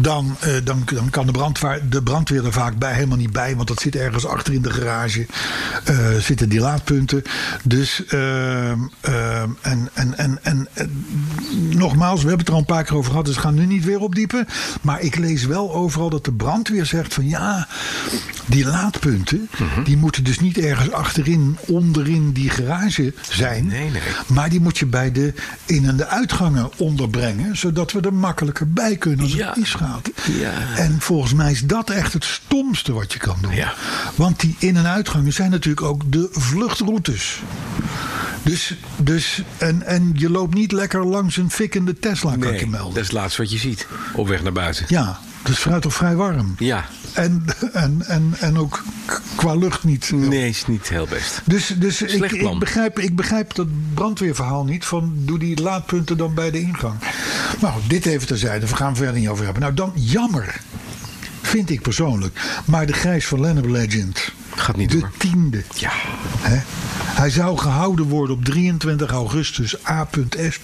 dan, eh, dan, dan kan de brandweer, de brandweer er vaak bij, helemaal niet bij, want dat zit ergens achter in de garage, eh, zitten die laadpunten. Dus, ehm, ehm, en, en, en, en, en nogmaals, we hebben het er al een paar keer over gehad, dus we gaan nu niet weer opdiepen. Maar ik lees wel overal dat de brandweer zegt van ja, die laadpunten, Mhm. die moeten dus niet ergens achterin, onderin die garage zijn. Nee, nee. Maar die moet je bij de in- en de uitgangen onderbrengen, zodat we er makkelijker bij kunnen als Ja. het misgaat. Ja. En volgens mij is dat echt het stomste wat je kan doen. Ja. Want die in- en uitgangen zijn natuurlijk ook de vluchtroutes. Dus, dus en, en je loopt niet lekker langs een fikkende Tesla, kan ik je Nee, melden. dat is het laatste wat je ziet. Op weg naar buiten. Ja, dus is fruit toch vrij warm. Ja. En, en, en, en ook k- qua lucht niet. heel Nee, is niet heel best. dus, dus ik, Slecht ik, plan. begrijp, ik begrijp dat brandweerverhaal niet. Van doe die laadpunten dan bij de ingang. Nou, dit even terzijde. We gaan het verder niet over hebben. Nou, dan jammer. Vind ik persoonlijk. Maar de Grijs van Lennep Legend. Gaat niet De door. tiende. Ja. Hè? Hij zou gehouden worden op 23 augustus. A.S.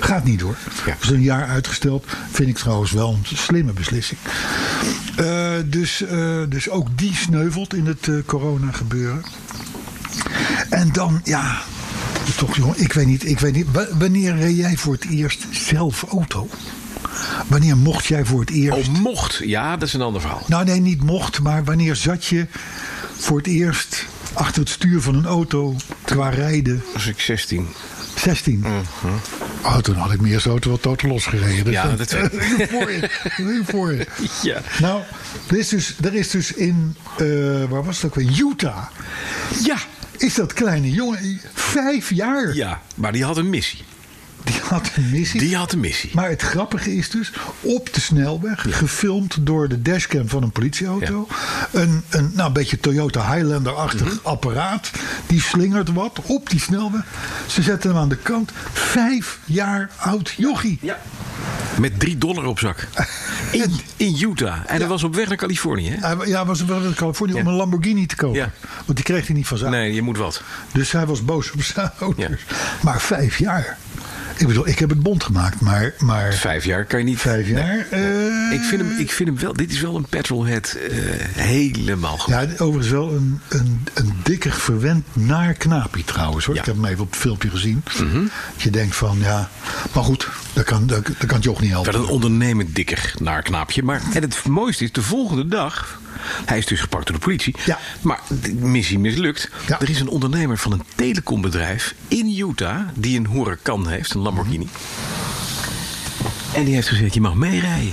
Gaat niet door. Ja. Is een jaar uitgesteld. Vind ik trouwens wel een slimme beslissing. Eh, dus, eh, dus ook die sneuvelt in het eh, corona gebeuren. En dan, ja, toch jongen, ik weet niet, ik weet niet. Wa- Wanneer reed jij voor het eerst zelf auto? Wanneer mocht jij voor het eerst? Oh, mocht. Ja, dat is een ander verhaal. Nou nee, niet mocht, maar wanneer zat je voor het eerst achter het stuur van een auto qua rijden? Als ik 16. 16. Mhm. Oh, toen had ik meer zo'n auto wat tot losgereden. Dus Ja, dan- dat weet ik. voor je. voor je. Ja. Nou, er is dus, er is dus in, eh, waar was het ook weer, Utah. Ja. Is dat kleine jongen, vijf jaar, Ja, maar die had een missie. die had een missie. Die had een missie. Maar het grappige is dus, op de snelweg, gefilmd door de dashcam van een politieauto. Een, een nou, een beetje Toyota Highlander-achtig Mhm. apparaat. Die slingert wat op die snelweg. Ze zetten hem aan de kant. Vijf jaar oud jochie. Met 3 dollar op zak. In, in Utah. En dat was op weg naar Californië, hè? Hij wa- ja, was wel in Californië om een Lamborghini te kopen. Ja. Want die kreeg hij niet van zijn Nee, je moet wat. Dus hij was boos op zijn ouders. Maar vijf jaar. Ik bedoel, ik heb het bond gemaakt, maar, maar Vijf jaar kan je niet. vijf jaar... eh, Ik vind, hem, ik vind hem wel. Dit is wel een petrolhead. eh, helemaal goed. Ja, overigens wel een, een, een dikker verwend naar knaapie trouwens. Hoor. Ja. Mhm. Ik heb hem even op het filmpje gezien. Dat je denkt van, ja... Maar goed, dat kan, dat, dat kan Joch niet helpen. Wel een ondernemend dikker naar knaapje. Maar, en het mooiste is, de volgende dag. Hij is dus gepakt door de politie. Ja. Maar de missie mislukt. Ja. Er is een ondernemer van een telecombedrijf in Utah. die een Huracan heeft, een Lamborghini. En die heeft gezegd: je mag meerijden.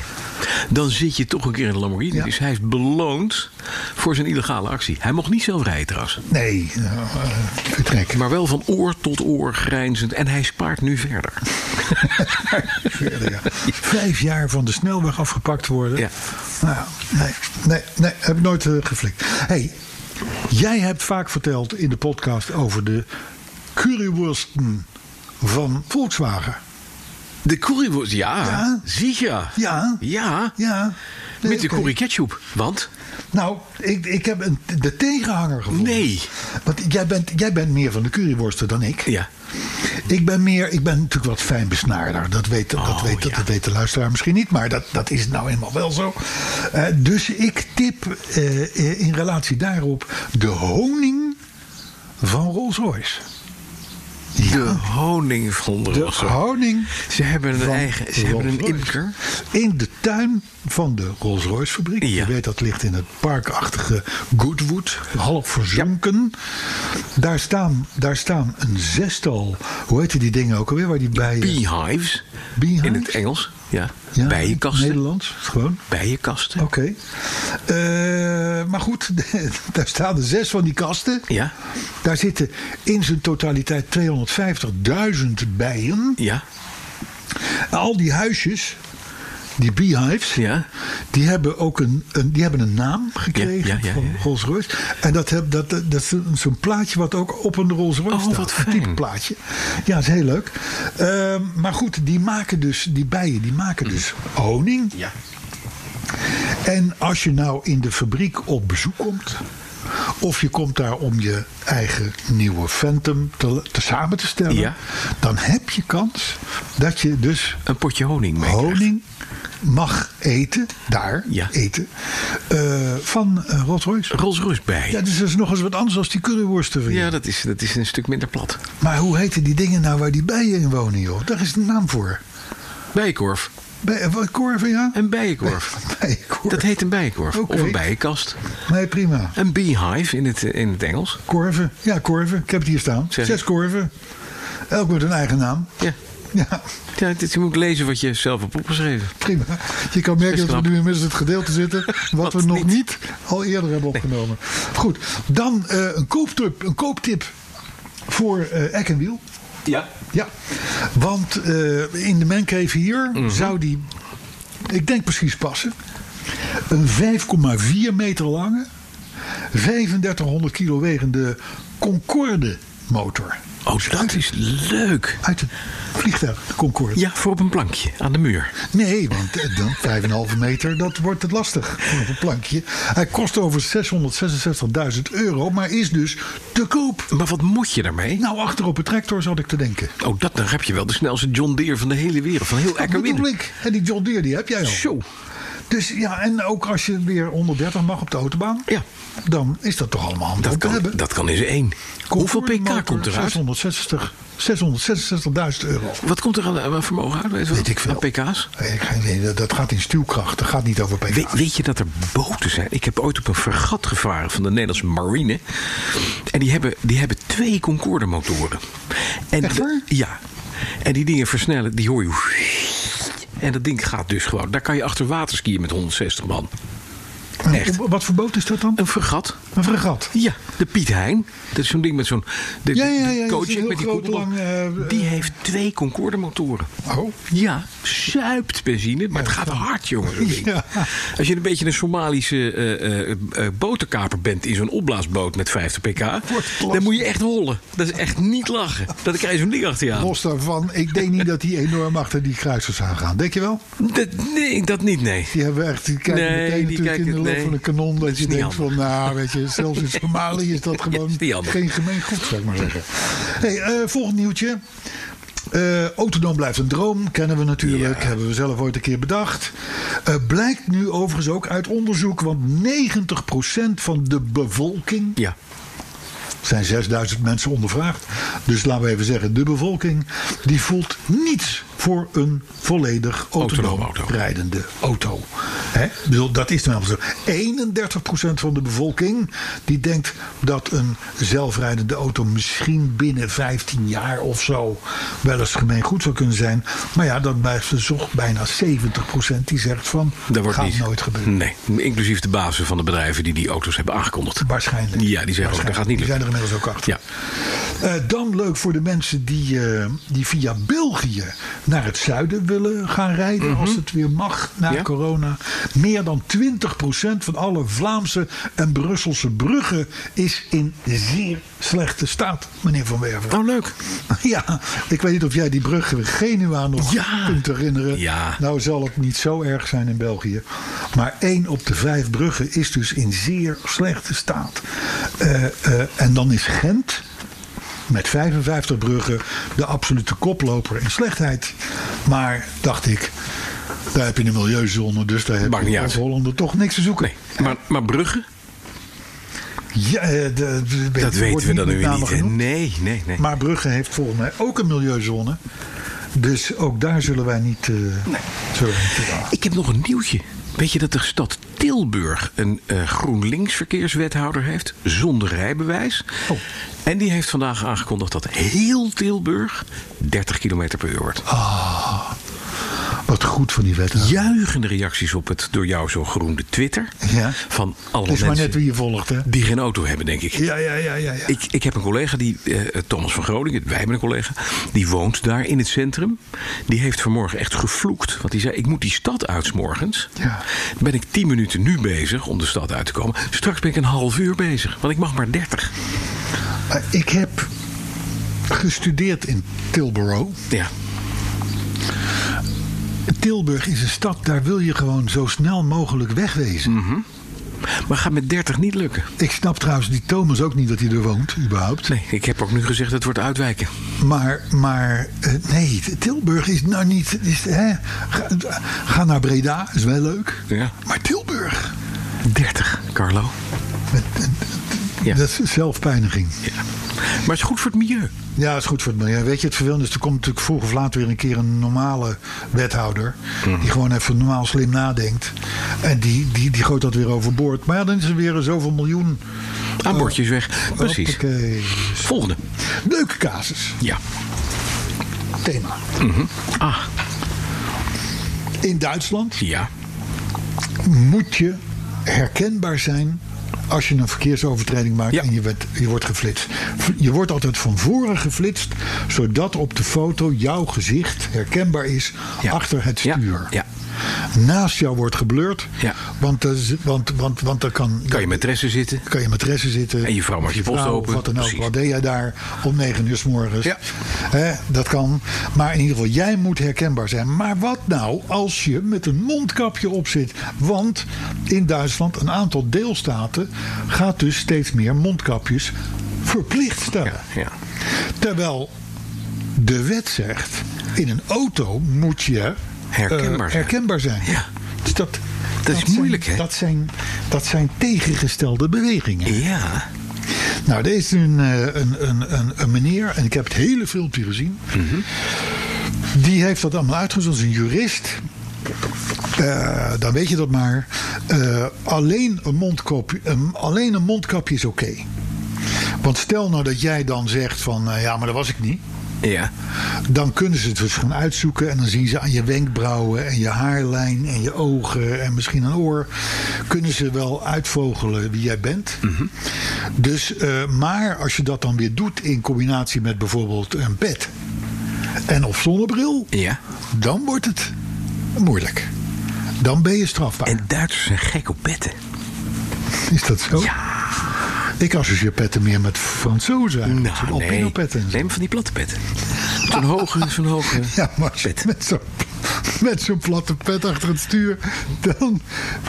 Dan zit je toch een keer in een Lamborghini. Ja. Dus hij is beloond voor voor zijn illegale actie. Hij mocht niet zelf rijden trouwens. Nee, nou, eh, vertrek. Maar wel van oor tot oor grijnzend. En hij spaart nu verder. Verder, ja. Vijf jaar van de snelweg afgepakt worden. Ja. Nou, nee, nee, nee, heb ik nooit eh, geflikt. hey, jij hebt vaak verteld in de podcast over de currywursten van Volkswagen. De currywurst, ja. Ja? Zie je. Ja. Ja. Ja. nee, Met de oké. curry ketchup. Want? Nou, ik, ik heb een, de tegenhanger gevonden. Nee. Want jij bent, jij bent meer van de curryworsten dan ik. Ja. Ik ben meer, ik ben natuurlijk wat fijn besnaarder. Dat weet, dat Oh, weet, ja. dat weet de luisteraar misschien niet, maar dat, dat is nou eenmaal wel zo. Eh, dus ik tip eh, eh, in relatie daarop de honing van Rolls Royce. De honing van de, De Rosso. honing. Ze hebben een van eigen- ze hebben een Rolls-Royce. imker. In de tuin van de Rolls Royce fabriek. Ja. Je weet dat ligt in het parkachtige Goodwood. Half verzonken. Daar, staan, daar staan een zestal. Hoe heette die dingen ook alweer? Waar die bijen. Beehives. Beehives? In het Engels. Ja. Ja, Bijenkasten. Nederlands, gewoon. Bijenkasten. Oké. Eh, maar goed, daar staan er zes van die kasten. Ja. Daar zitten in zijn totaliteit 250.000 bijen. Ja. Al die huisjes, die beehives, Ja. die, hebben ook een, een, die hebben een naam gekregen ja, ja, van ja, ja. Rolls Royce. En dat, heb, dat, dat is een- zo'n plaatje wat ook op een Rolls Royce Oh, staat. wat Een type fijn. plaatje. Ja, dat is heel leuk. Ehm, maar goed, die maken dus, die bijen, die maken dus honing. Mm. Ja. En als je nou in de fabriek op bezoek komt. Of je komt daar om je eigen nieuwe Phantom te, te samen te stellen. Ja. Dan heb je kans dat je dus Een potje honing mee krijgt. honing mag eten. Daar Ja. eten. eh, van eh, Rolls Royce. Rolls-Royce bij. Ja, dus dat is nog eens wat anders dan die curryworsten. van je. Ja, dat is, dat is een stuk minder plat. Maar hoe heten die dingen nou waar die bijen in wonen joh? Daar is een naam voor. Bijenkorf. Bij, eh, wat, korven ja? Een bijenkorf. Bijenkorf. Dat heet een bijenkorf. Oké. Of een bijenkast. Nee, prima. Een beehive in het, eh, in het Engels. Korven. Ja, korven. Ik heb het hier staan. Zeg. Zes korven. Elk met een eigen naam. Ja. Ja, Ja, dit, je moet lezen wat je zelf hebt opgeschreven. prima. Je kan merken Is dat we knap. nu inmiddels het gedeelte zitten... wat, we Wat nog niet. niet. al eerder hebben opgenomen. Goed, dan eh, een, kooptip, een kooptip voor eh Eck en Wiel. Ja. Ja, want eh, in de mancave hier zou die, ik denk precies passen... een 5,4 meter lange, 3500 kilo wegende Concorde motor... Oh, dat is leuk. Uit het vliegtuig, de Concorde. Ja, voor op een plankje aan de muur. Nee, want eh, dan 5,5 meter, dat wordt het lastig. Voor een plankje. Hij kost over 666.000 euro, maar is dus te koop. Maar wat moet je daarmee? Nou, achter op een tractor zat ik te denken. Oh, dat, dan heb je wel de snelste John Deere van de hele wereld. Van heel Dat bedoel Eckerwin. ik. En die John Deere, die heb jij al. Zo. Dus ja, en ook als je weer 130 mag op de autobaan... Ja. dan is dat toch allemaal handig Dat om te kan, hebben. dat kan in zijn één. Hoeveel Concorde pk motor, komt eruit? 660 666.000 euro. Wat komt er aan, aan vermogen uit? Weet, je Weet ik veel. wel? Aan pk's? Eh, ik ga- nee, dat- Dat gaat in stuwkracht, dat gaat niet over pk. We- weet je dat er boten zijn? Ik heb ooit op een vergat gevaren van de Nederlandse marine. En die hebben, die hebben twee Concorde motoren. En Echt waar? de- ja. En die dingen versnellen, die hoor je. En dat ding gaat dus gewoon. Daar kan je achter water skiën met 160 man. En echt. op- Wat voor boot is dat dan? Een vergat. Een fregat. Ja, de Piet Hein. Dat is zo'n ding met zo'n... De, Ja, de ja, ja, dat is een coaching heel met die groot, koepelbak. lang, eh, Die eh, heeft twee Concorde motoren. Oh. Ja, zuipt benzine, maar het gaat hard, jongen. zo'n ding. Ja. Als je een beetje een Somalische eh, eh, eh, boterkaper bent in zo'n opblaasboot met 50 pk, lastig. dan moet je echt hollen. Dat is echt niet lachen. Dan krijg je zo'n ding achter je aan. Los daarvan, ik denk niet dat die enorm achter die kruisers aangaan. Denk je wel? Dat, nee, dat niet, nee. Die hebben echt, die kijken Nee, meteen die natuurlijk kijken- in de loop nee. van een kanon. Dat, Dat is je niet denkt van, nou weet je, zelfs in Somalië is dat gewoon is niet handig. geen gemeen goed, zou ik maar zeggen. Hey, eh, volgend nieuwtje. Eh Autodroom blijft een droom, kennen we natuurlijk. Hebben we zelf ooit een keer bedacht. Eh, blijkt nu overigens ook uit onderzoek, want 90% van de bevolking Ja, zijn 6000 mensen ondervraagd. Dus laten we even zeggen, de bevolking die voelt niets voor een volledig autonoom, Autonoom auto. rijdende auto. Hè? Ik bedoel, dat is dan wel zo. 31% van de bevolking die denkt dat een zelfrijdende auto misschien binnen 15 jaar of zo wel eens gemeengoed zou kunnen zijn. Maar ja, dan blijft er toch bijna 70% die zegt van Dat wordt gaat niet. nooit gebeuren. Nee, inclusief de bazen van de bedrijven die die auto's hebben aangekondigd. Waarschijnlijk. Ja, die zeggen ook, dat Waarschijnlijk. gaat niet lukken. Die zijn er inmiddels ook achter. Ja. Eh, dan leuk voor de mensen die, eh, die via België naar het zuiden willen gaan rijden. Als het weer mag na Ja. corona. Meer dan 20% van alle Vlaamse en Brusselse bruggen is in zeer slechte staat, meneer Van Werven. Oh, leuk. Ja, ik weet niet of jij die brug in Genua nog Ja. kunt herinneren. Ja. Nou zal het niet zo erg zijn in België. Maar één op de vijf bruggen is dus in zeer slechte staat. Eh, eh, en dan is Gent met 55 bruggen de absolute koploper in slechtheid. Maar dacht ik, daar heb je een milieuzone, dus daar heb Maakt je niet als uit. Hollander toch niks te zoeken. Nee, maar, maar Brugge, Ja, eh, de- de- dat wordt weten we dan met nu name niet. hè? genoemd. Nee, nee, nee. Maar Brugge heeft volgens mij ook een milieuzone. Dus ook daar zullen wij niet. eh zullen we niet aan. Ik heb nog een nieuwtje. Weet je dat de stad Tilburg een eh GroenLinks verkeerswethouder heeft zonder rijbewijs? Oh. En die heeft vandaag aangekondigd dat heel Tilburg 30 km per uur wordt. eh, Wat goed van die wethouder. Juichende reacties op het door jou zo geroemde Twitter. Ja. Van alle Het is maar mensen net wie je volgt, hè? die geen auto hebben, denk ik. Ja, ja, ja, ja. ja. Ik, ik heb een collega, die, eh, Thomas van Groningen, wij hebben een collega, die woont daar in het centrum. Die heeft vanmorgen echt gevloekt. Want die zei: Ik moet die stad uit 's morgens. Ja. Ben ik 10 minuten nu bezig om de stad uit te komen. Straks ben ik een half uur bezig, want ik mag maar 30. Maar ik heb gestudeerd in Tilborough. Ja. Tilburg is een stad, daar wil je gewoon zo snel mogelijk wegwezen. Mhm. Maar gaat met 30 niet lukken. Ik snap trouwens die Thomas ook niet dat hij er woont, überhaupt. Nee, ik heb ook nu gezegd: het wordt uitwijken. Maar, maar eh, nee, Tilburg is nou niet. Is, hè, ga, ga naar Breda, is wel leuk. Ja. Maar Tilburg. 30, Carlo. Met- Ja. Dat is zelfpijniging. Ja. Maar het is goed voor het milieu. Ja, dat is goed voor het milieu. Weet je, het vervelende is, er komt natuurlijk vroeg of laat weer een keer een normale wethouder. Mhm. Die gewoon even normaal slim nadenkt. En die, die, die gooit dat weer overboord. Maar ja, dan is er weer zoveel miljoen. Aanbordjes weg. Precies. Oh. Hoppakee. Volgende. Leuke casus. Ja. Thema. Ah, In Duitsland ja. moet je herkenbaar zijn als je een verkeersovertreding maakt Ja. en je, werd, je wordt geflitst. Je wordt altijd van voren geflitst, zodat op de foto jouw gezicht herkenbaar is Ja. achter het Ja, stuur. ja. Naast jou wordt geblurred, Ja. want, er is- want, want, want dan kan, Kan je met tressen zitten? kan je matresse zitten. En je vrouw maakt of je post vrouw, open. Wat dan ook. Precies. Wat deed jij daar om negen uur s morgens? Ja. Hè, dat kan. Maar in ieder geval, jij moet herkenbaar zijn. Maar wat nou als je met een mondkapje op zit? Want in Duitsland, een aantal deelstaten... gaat dus steeds meer mondkapjes verplicht stellen. Ja. Terwijl de wet zegt... in een auto moet je Herkenbaar zijn. eh, herkenbaar zijn. Ja. Dus dat... is zijn- moeilijk, hè? Dat zijn, dat zijn tegengestelde bewegingen. Ja. Nou, er is een, eh, een, een, een, een meneer, en ik heb het hele filmpje gezien. Die heeft dat allemaal uitgezocht, dat is een jurist. Eh, dan weet je dat maar. Eh, alleen, een mondkapje, een- alleen een mondkapje is oké. Want stel nou dat jij dan zegt van, eh, ja, maar dat was ik niet. Ja. Dan kunnen ze het dus gaan uitzoeken. En dan zien ze aan je wenkbrauwen en je haarlijn en je ogen en misschien een oor. Kunnen ze wel uitvogelen wie jij bent. Mhm. Dus, eh, maar als je dat dan weer doet in combinatie met bijvoorbeeld een pet. En of zonnebril. Ja. Dan wordt het moeilijk. Dan ben je strafbaar. En Duitsers zijn gek op petten. is dat zo? Ja. Ik associeer petten meer met Fransozen. eigenlijk. Zo'n Nou, nee. alpino-petten en zo. Nee, maar van die platte petten. Zo'n hoge, zo'n hoge. Ja, maar als je Pet. met zo'n met zo'n platte pet achter het stuur, dan...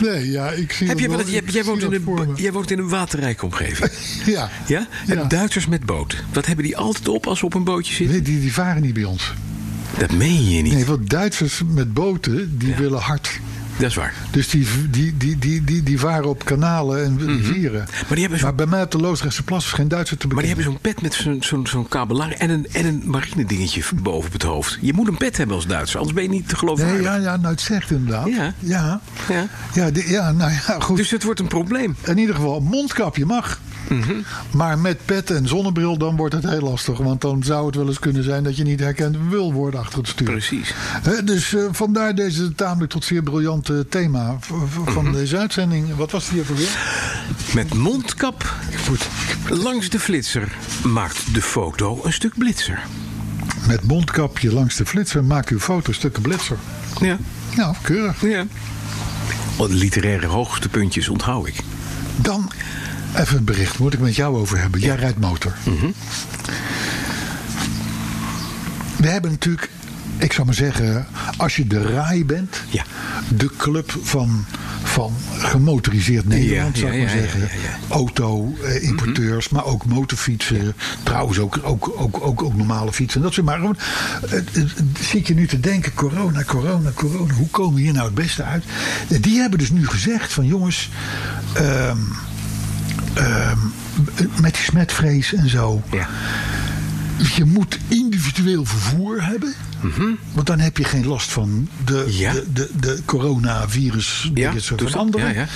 Nee, ja, ik zie Heb jij, dat wel, wel, eens- jij, ik jij, zie woont in dat voor een, me. jij woont in een waterrijke omgeving. Ja. Ja? Ja. En Duitsers met boot. Wat hebben die altijd op als ze op een bootje zitten? Nee, die, die varen niet bij ons. Dat meen je niet. Nee, want Duitsers met boten, die willen hard. Dat is waar. Dus die, die, die, die, die, die varen op kanalen en rivieren. Mhm. Maar die hebben zo'n- Maar bij mij op de Loosdrechtse Plas is geen Duitser te Maar bekennen. die hebben zo'n pet met zo'n zo'n zo'n kabelaar en een, en een marine dingetje boven op het hoofd. Je moet een pet hebben als Duitser, anders ben je niet te geloven. Nee, ja, ja, nou het zegt inderdaad. Ja. Ja, Ja. ja, die- ja nou ja, goed. Dus het wordt een probleem. In ieder geval, mondkapje mag. Maar met pet en zonnebril, dan wordt het heel lastig. Want dan zou het wel eens kunnen zijn dat je niet herkend wil worden achter het stuur. Precies. Hè, dus eh, vandaar deze tamelijk tot zeer briljante thema v- v- van deze uitzending. Wat was die even weer? Met mondkap langs de flitser maakt de foto een stuk blitser. Met mondkapje langs de flitser maak uw foto stukken blitser. Ja, Nou, keurig. ja. Wat literaire hoogste puntjes onthoud ik. Dan even een bericht. Moet ik met jou over hebben? Jij rijdt motor. Mhm. We hebben natuurlijk, ik zou maar zeggen, als je de RAI bent, Ja. de club van, van gemotoriseerd Nederland, Ja, zou ik ja, maar ja, zeggen. ja, ja, Mhm. Auto-importeurs, maar ook motorfietsen. Trouwens ook, ook, ook, ook, ook normale fietsen. en Dat soort, maar gewoon, eh, eh, zit je nu te denken, corona, corona, corona. Hoe komen we hier nou het beste uit? Eh, Die hebben dus nu gezegd van jongens... ehm, ehm, met die smetvrees en zo. Ja. Je moet individueel vervoer hebben. Want dan heb je geen last van de, Mhm. Ja. de, de, de coronavirus Ja, dingetjes doe van dat. anderen. Ja, ja.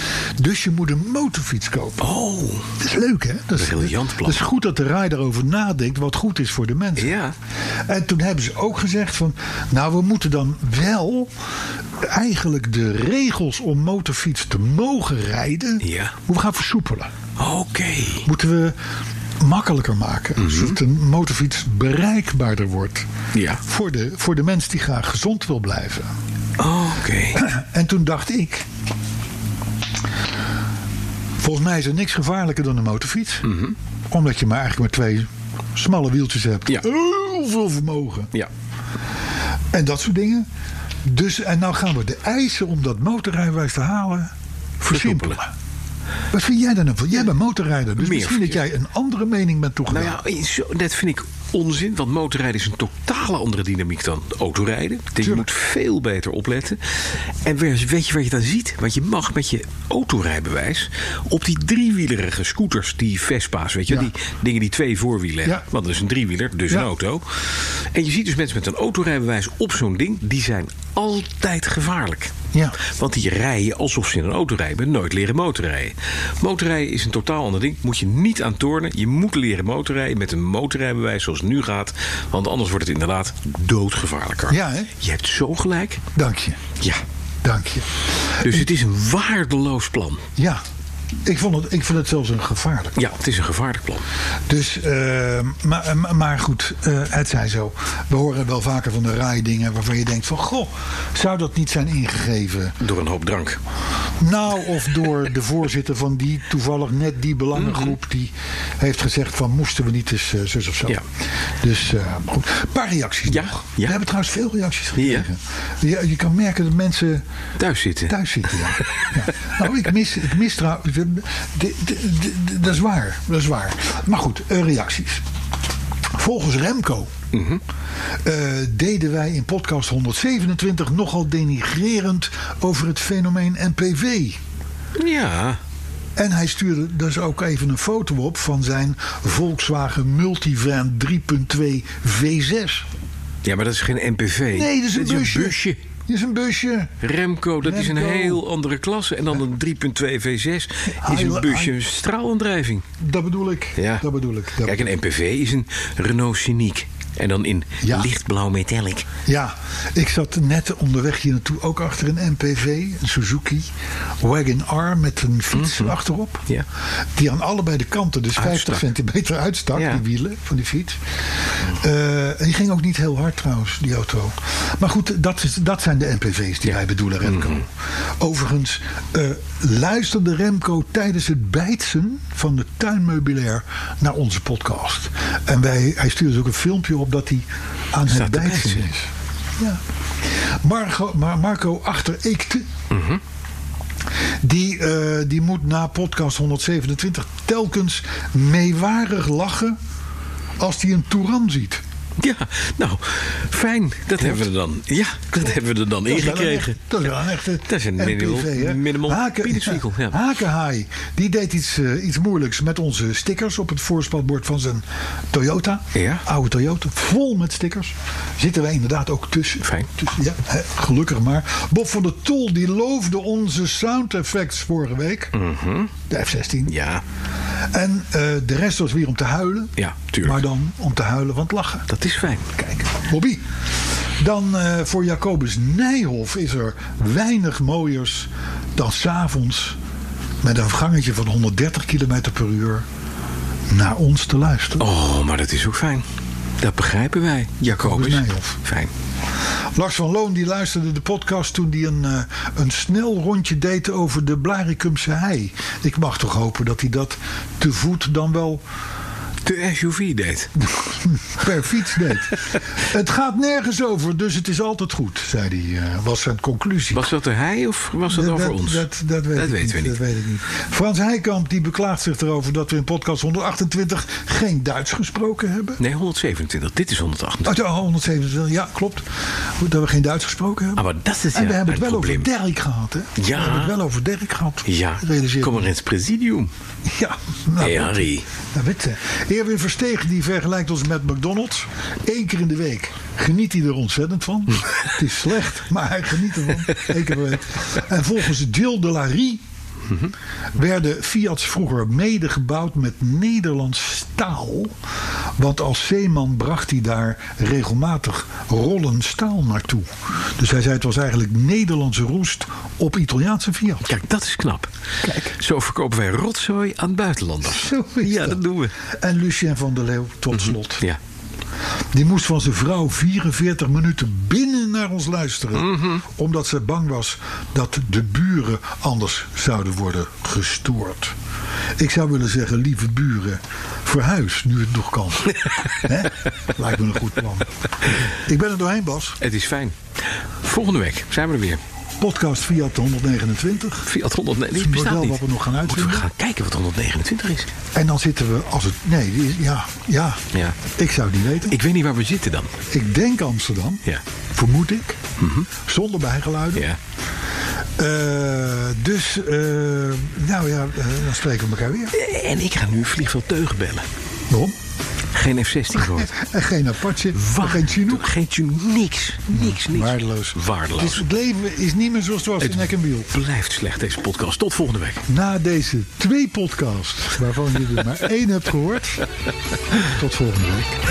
Dus je moet een motorfiets kopen. Oh, Dat is leuk, hè? Dat is, Briljant plan. Dat is goed dat de RAI daarover nadenkt wat goed is voor de mensen. Ja. En toen hebben ze ook gezegd van... nou, we moeten dan wel eigenlijk de regels om motorfiets te mogen rijden... Ja. moeten we gaan versoepelen oké. moeten we makkelijker maken. Mhm. Zodat een motorfiets bereikbaarder wordt. Ja. Voor, de, voor de mens die graag gezond wil blijven. Oké. En toen dacht ik... Volgens mij is er niks gevaarlijker dan een motorfiets. Mhm. Omdat je maar eigenlijk maar twee smalle wieltjes hebt. Ja. Heel veel vermogen. Ja. En dat soort dingen. Dus, en nou gaan we de eisen om dat motorrijbewijs te halen versimpelen. Wat vind jij daar nou van? Jij bent motorrijder, dus Meer misschien dat jij een andere mening bent toegedaan. Nou ja, zo, dat vind ik onzin, want motorrijden is een totale andere dynamiek dan autorijden. Dus je Tuurlijk. moet veel beter opletten. En weer- weet je wat je dan ziet? Want je mag met je autorijbewijs op die driewielerige scooters, die Vespa's, weet je, Ja. die dingen die twee voorwielen hebben. Ja. Want dat is een driewieler, dus Ja. een auto. En je ziet dus mensen met een autorijbewijs op zo'n ding, die zijn altijd gevaarlijk. Ja. Want die rijden alsof ze in een auto rijden, nooit leren motorrijden. Motorrijden is een totaal ander ding. Moet je niet aan tornen. Je moet leren motorrijden met een motorrijbewijs zoals het nu gaat. Want anders wordt het inderdaad doodgevaarlijk. Carl. Ja, hè? Je hebt zo gelijk. Dank je, Ja. dank je. Dus het is een waardeloos plan. Ja, ik, vond het, ik vind het zelfs een gevaarlijk. Ja, het is een gevaarlijk plan. Dus, eh, maar, maar- maar goed, eh, het zij zo. We horen wel vaker van de raai dingen waarvan je denkt van... goh, zou dat niet zijn ingegeven? Door een hoop drank. Nou, of door de voorzitter van die toevallig net die belangengroep... die heeft gezegd van moesten we niet eens eh, zus of zo. Mhm. Ja. Dus eh, goed, een paar reacties Ja, nog. ja. We hebben trouwens veel reacties gekregen. Ja, je kan merken dat mensen... Thuis zitten. Thuis zitten, ja. ja. Nou, ik mis, ik mis trouwens... de- de- de- de- Dat is waar, dat is waar. Maar goed, eh, reacties. Volgens Remco... eh, deden wij in podcast 127 nogal denigrerend over het fenomeen NPV. Ja. En hij stuurde dus ook even een foto op van zijn Volkswagen Multivan 3.2 V6. Ja, maar dat is geen NPV. Nee, dat is een Dit busje. Dit is een busje. Remco, dat is een Remco. heel andere klasse. En dan een 3.2 V6 is Hij- een busje, een straalaandrijving. Dat bedoel ik. Ja. Dat bedoel ik. Dat Kijk, een MPV is een Renault Scenic. En dan in Ja. lichtblauw metallic. Ja, ik zat net onderweg hier naartoe ook achter een MPV, een Suzuki Wagon R met een fiets achterop. Mhm. Ja. Die aan allebei de kanten, dus 50 Uitstak. centimeter uitstak, Ja. die wielen van die fiets. Eh, en die ging ook niet heel hard trouwens, die auto. Maar goed, dat, is, dat zijn de MPV's die wij bedoelen, Remco. Mhm. Overigens, eh, luisterde Remco tijdens het bijtsen van de tuinmeubilair naar onze podcast. En wij, hij stuurde dus ook een filmpje op dat hij aan het te bijtsen bijtsen. is. Ja. Margo, Mar- Marco achter Eekte. Die, eh, die moet na podcast 127 telkens meewarig lachen als hij een Touran ziet. Ja, nou, fijn. Dat hebben we er dan. Ja, dat hebben we er dan Dat is wel een echt- ingekregen. Dat is wel een echte Dat is een minimal- hè? minimal Haken- peniswinkel, ja. Hakenhaai, die deed iets, eh, iets moeilijks met onze stickers op het voorspelbord van zijn Toyota. Ja. Oude Toyota, vol met stickers. Zitten wij inderdaad ook tussen. Fijn. Tussen, ja, hè, gelukkig maar. Bob van der Tol die loofde onze sound effects vorige week. De F-16. Mhm. Ja, En eh, de rest was weer om te huilen. Ja, tuurlijk. Maar dan om te huilen van het lachen. dat is fijn. Kijk, Bobby. Dan eh, voor Jacobus Nijhoff is er weinig mooiers dan s'avonds met een gangetje van 130 km per uur naar ons te luisteren. Oh, maar dat is ook fijn. Dat begrijpen wij, Jacobus. Volgens mij, of- Fijn. Lars van Loon die luisterde de podcast toen hij een, eh, een snel rondje deed over de Blarikumse hei. Ik mag toch hopen dat hij dat te voet dan wel De SUV deed. per fiets deed. het gaat nergens over, dus het is altijd goed, zei hij, eh, was zijn conclusie. Was dat er hij of was dat, over ons? Dat, dat, weet Dat ik weten we niet. Dat weet ik niet. Frans Heikamp die beklaagt zich erover dat we in podcast 128 geen Duits gesproken hebben. Nee, 127. Dit is 128. Uit de 127, ja, klopt. Goed Dat we geen Duits gesproken hebben. Ah, maar dat is Oh, en ja we hebben het een wel probleem. over Dirk gehad, hè? We Ja. hebben het wel over Dirk gehad. Ja, Realiseer kom me. maar in het presidium. Ja, nou, hey, Harry. nou witte. Erwin Verstegen die vergelijkt ons met McDonald's. Eén keer in de week geniet hij er ontzettend van. Hm. het is slecht, maar hij geniet ervan. Eén keer per week. En volgens Jill de Larie Mhm. werden Fiat's vroeger mede gebouwd met Nederlands staal. Want als zeeman bracht hij daar regelmatig rollen staal naartoe. Dus hij zei het was eigenlijk Nederlandse roest op Italiaanse Fiat. Kijk, dat is knap. Kijk. Zo verkopen wij rotzooi aan buitenlanders. Zo is ja, dat doen we. Mhm. En Lucien van der Leeuw tot slot. Ja. Die moest van zijn vrouw 44 minuten binnen naar ons luisteren. Mhm. Omdat ze bang was dat de buren anders zouden worden gestoord. Ik zou willen zeggen, lieve buren, verhuis nu het nog kan. Hè? Lijkt me een goed plan. Ik ben er doorheen, Bas. Het is fijn. Volgende week zijn we er weer. Podcast Fiat 129. Fiat 129. Die Het bestaat model niet. wat we nog gaan Moeten we uitvinden. gaan kijken wat 129 is? En dan zitten we als het... Nee, die- ja, ja. Ja. Ik zou het niet weten. Ik weet niet waar we zitten dan. Ik denk Amsterdam. Ja. Mhm. Vermoed ik. Zonder bijgeluiden. Ja. Eh, dus, eh, nou ja, eh, dan spreken we elkaar weer. En ik ga nu vliegveld teugen bellen. Waarom? Geen F-16 gehoord. En Eh, geen Apache, geen Chinook. Geen Chinook. Niks. Niks, niks. Waardeloos. Waardeloos. Dus het leven is niet meer zoals het was in Nek en Biel. Blijft slecht deze podcast. Tot volgende week. Na deze twee podcasts, waarvan je er maar één hebt gehoord. Tot volgende week.